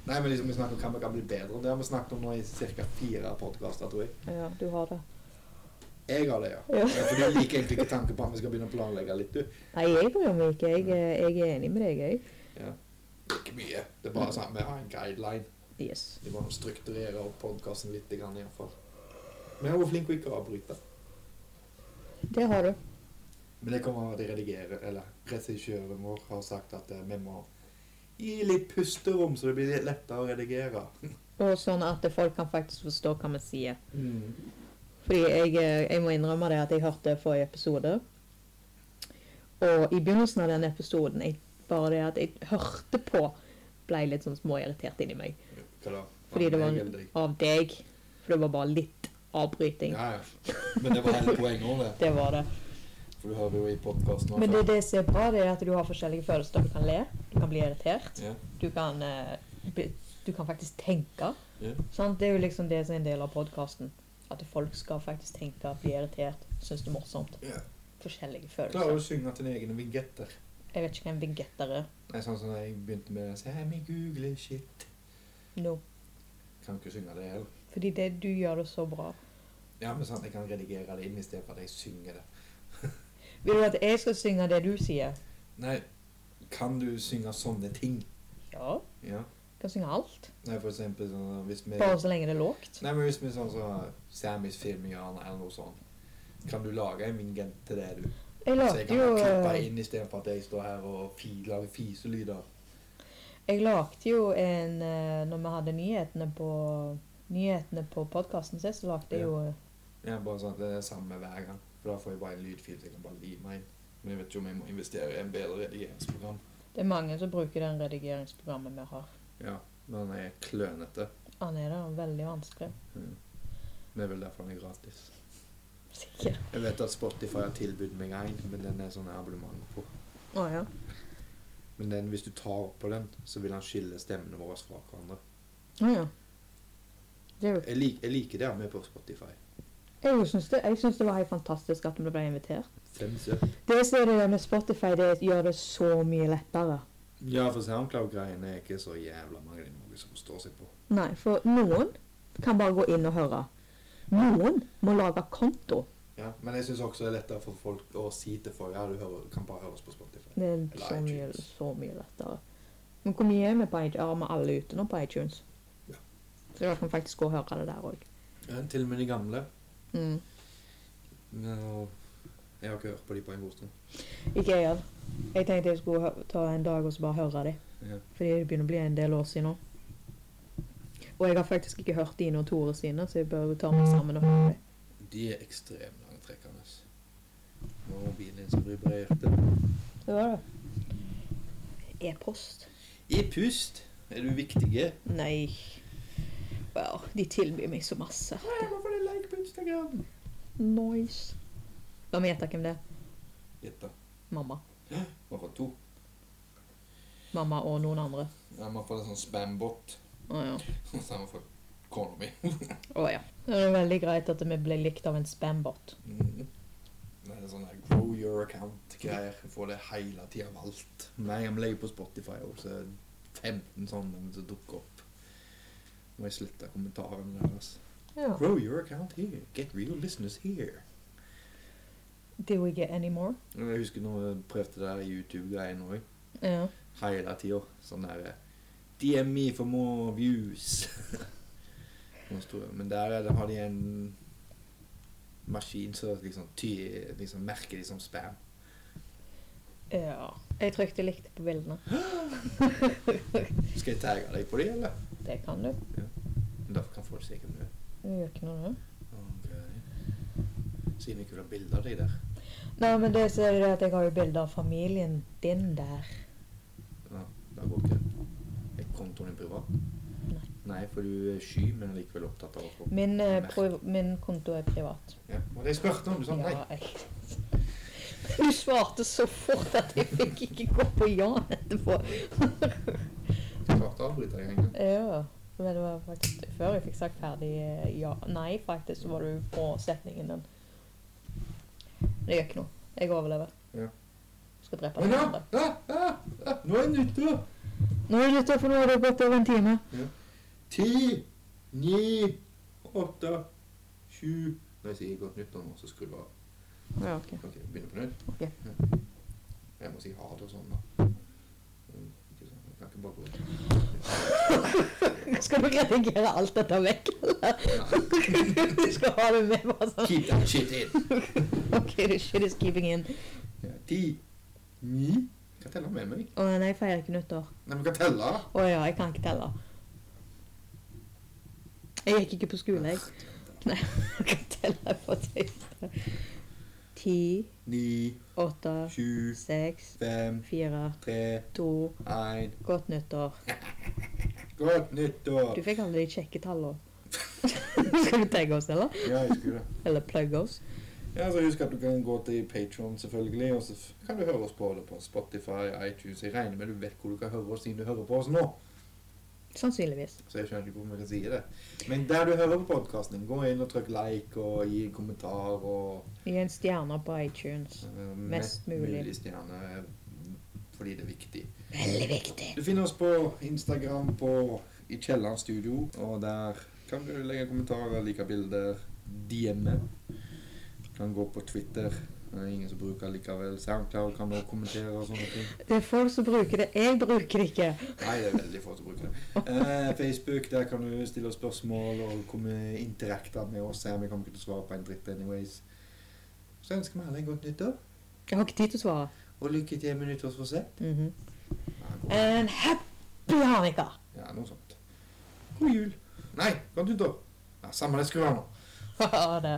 Nei, men liksom vi snakker om hva vi kan bli bedre. Det har vi snakket om nå i ca. fire podkaster, tror jeg. Ja, du har det. Jeg har det, ja. Ja. ja for du liker egentlig ikke tanken på at vi skal begynne å planlegge litt, du. Nei, jeg bryr meg ikke. Jeg, er- jeg er enig med deg, jeg. Ikke mye. Det er bare sånn vi har en guideline. Yes. Vi må strukturere opp podkasten litt, i grann, i hvert fall. Men jeg var flink til ikke å avbryte. Det har du. Men det kommer av at jeg redigerer, eller regissøren vår har sagt at eh, vi må gi litt pusterom, så det blir litt lettere å redigere. Og sånn at folk kan faktisk forstå hva vi sier. Mm. Fordi jeg, eh, jeg må innrømme det at jeg hørte forrige episode. Og i begynnelsen av den episoden, jeg, bare det at jeg hørte på, ble litt sånn småirritert inni meg. Hva da? Fordi det var Jeg eller deg? av deg. For det var bare litt avbryting. Ja, ja. Men det var hele poenget òg, det. Det var det. For du hører jo i podkasten Men det, det som er bra, det er at du har forskjellige følelser. Du kan le, du kan bli irritert, Ja. du kan, eh, bli, du kan faktisk tenke. Ja. Sant? Det er jo liksom det som er en del av podkasten. At folk skal faktisk tenke, bli irritert, synes det er morsomt. Ja. Forskjellige Klarer følelser. å synge til dine egne vigetter. Jeg vet ikke hvem vegetter er. Det er sånn som da jeg begynte med å si «Hei, vi googler shit. No. Kan ikke synge det heller. Fordi det, du gjør det så bra. Ja, men sant, jeg kan redigere det inn i stedet for at jeg synger det. Vil du at jeg skal synge det du sier? Nei, kan du synge sånne ting? Ja. Ja. Jeg kan synge alt. Nei, for eksempel sånn hvis vi Bare så lenge det er lågt. Nei, men hvis vi sånn som Samis filmhjørne eller noe sånt, kan du lage en vingent til det, du? Jeg Så jeg lagde kan jo eh, klippe det inn istedenfor at jeg står her og fi- lager fiselyder. Jeg lagde jo en eh, Når vi hadde nyhetene på Nyhetene på podkasten sin, så lagde jeg Ja. jo Ja, bare sånn at det er samme hver gang. For da får jeg bare en lydfil som jeg kan bare lime inn. Men jeg vet ikke om jeg må investere i en bedre redigeringsprogram. Det er mange som bruker den redigeringsprogrammet vi har. Ja, men han er klønete. Mm. Han er da veldig vanskelig. Det er vel derfor han er gratis. Sikkert. Jeg vet at Spotify har tilbudt meg en, men den er sånn abonnement på. Å ja. Men den, hvis du tar opp på den, så vil han skille stemmene våre fra hverandre. Å ja. Det er jo Jeg, lik, jeg liker det med på Spotify. Jeg syns det, jeg syns det var helt fantastisk at vi ble invitert. Thumbs up. Det som er det der med Spotify, det gjør det så mye lettere. Ja, for SoundCloud-greiene er ikke så jævla mange det er noe som står seg på. Nei, for noen kan bare gå inn og høre. Noen må lage konto. Ja, Men jeg syns også det er lettere for folk å si til folk ja, du hører, kan bare høres på Spotify. Det er Eller så mye, iTunes. så mye lettere. Men hvor mye er vi på iTunes? Ja, vi er alle ute nå på iTunes. Ja. Så dere kan faktisk gå og høre det der òg. Ja, til og med de gamle. Mm. Men og- jeg har ikke hørt på de på en god stund. Ikke jeg heller. Jeg tenkte jeg skulle hø- ta en dag og så bare høre dem. Ja. Fordi det begynner å bli en del år siden nå. Og jeg har faktisk ikke hørt Dine og Tore sine, så jeg bør jo ta meg sammen og høre dem. De er ekstremt langtrekkende. Nå er mobilen din som vibrerte. Det var det. E-post? I pust! Er du viktige? Nei. Wow, de tilbyr meg så masse. Jeg må få deg like på Instagram! Nice. La meg gjette hvem det er. Gitt da. Mamma. Man får to. Mamma og noen andre. Ja, man får en sånn spambot. Å ja. Samme for kona mi. Å ja. Det er veldig greit at vi ble likt av en spambot. Mm. Det er sånn der grow your account-greier. Jeg får det hele tida av alt. Hver gang jeg legger på Spotify, og så er det 15 sånne som dukker opp. Må jeg slette kommentarene deres. Ja. Grow your account here. Get real listeners here. Do we get any more? Jeg husker når jeg prøvde det der YouTube-greien òg. Ja. Hele tida. Sånn der eh, DM me for more views. Noe stort. Men der er det, har de en maskin som liksom, ty, liksom merker de som spam. ja. Jeg trykte likt på bildene. Skal jeg tagge deg på det, eller? Det kan du. Men Derfor kan folk se hvem du er. Det gjør ikke noe, det. Siden vi ikke vil ha bilder av deg der. Nei, men det så er det at jeg har jo bilder av familien din der. Ja, da går ikke Er kontoen din privat? Nei. Nei, for du er sky, men likevel opptatt av å få Min, eh, priv- min konto er sånn? privat. Ja, og det jeg spurte om, du sa nei. Ja, jeg... Du svarte så fort at jeg fikk ikke gå på ja etterpå. Du klarte å avbryte deg en gang. Ja, men det var faktisk før jeg fikk sagt ferdig eh, ja. Nei, faktisk så var du på setningen din. Det gjør ikke noe. Jeg overlever. Ja. Skal drepe Men deg. ja, andre. ja, ja, ja, nå er den ute! Nå er det nytt, for nå har det gått over en time. Ti, ni, åtte, sju Når jeg sier godt nyttår nå, så skrur du av. Ja, ok. Ok, begynner på nytt? Ok. Ja. Jeg må si ha det og sånn, da. Mm, Ikke sånn, jeg kan ikke bare gå Skal du redigere alt dette vekk, eller? Du skal ha det med bare sånn. Keep that shit in! Ok, the shit is keeping in. Ja, Ti, ni Kan telle med meg? Å nei, jeg feirer ikke nyttår. Nei, men kan telle! Å ja, jeg kan ikke telle. Jeg gikk ikke på skole, jeg. Nei, jeg kan telle på tøyste. Ti, Ni, åtte, sju, seks, fem, fire, tre, to én Godt nyttår. Godt nyttår! Du fikk alle de kjekke tallene. Skal du tagge oss, eller? Ja, jeg skulle det. Eller plugge oss? Ja, så Husk at du kan gå til Patron, selvfølgelig. Og så f- kan du høre oss på det på Spotify, iTunes Jeg regner med du vet hvor du kan høre oss siden du hører på oss nå. Sannsynligvis. Så jeg skjønner ikke hvorfor jeg sier det. Men der du hører på podkasten, gå inn og trykk like og gi en kommentar og Gi en stjerne på iTunes. eh, Mest mulig. stjerne. eh, Fordi det er viktig. Veldig viktig. Du finner oss på Instagram på i Kielland studio, og der kan du legge kommentarer, like bilder, DM-e. Kan gå på Twitter. Det er ingen som bruker likevel. Soundcloud kan du også kommentere og sånne ting. Det er folk som bruker det. Jeg bruker det ikke. Nei, det er veldig få som bruker det. Eh, Facebook, der kan du stille oss spørsmål og komme interakta med oss. her. Vi kommer ikke til å svare på en dritt anyways. Så ønsker vi alle en godt nyttår, Jeg har ikke tid til å svare. og lykke til med nyttårsforsett. Mhm. Ja, god- And happy Hanukkah! Ja, noe sånt. God jul. Nei, godt nyttår. Ja, samme det, skru av nå. Ha det.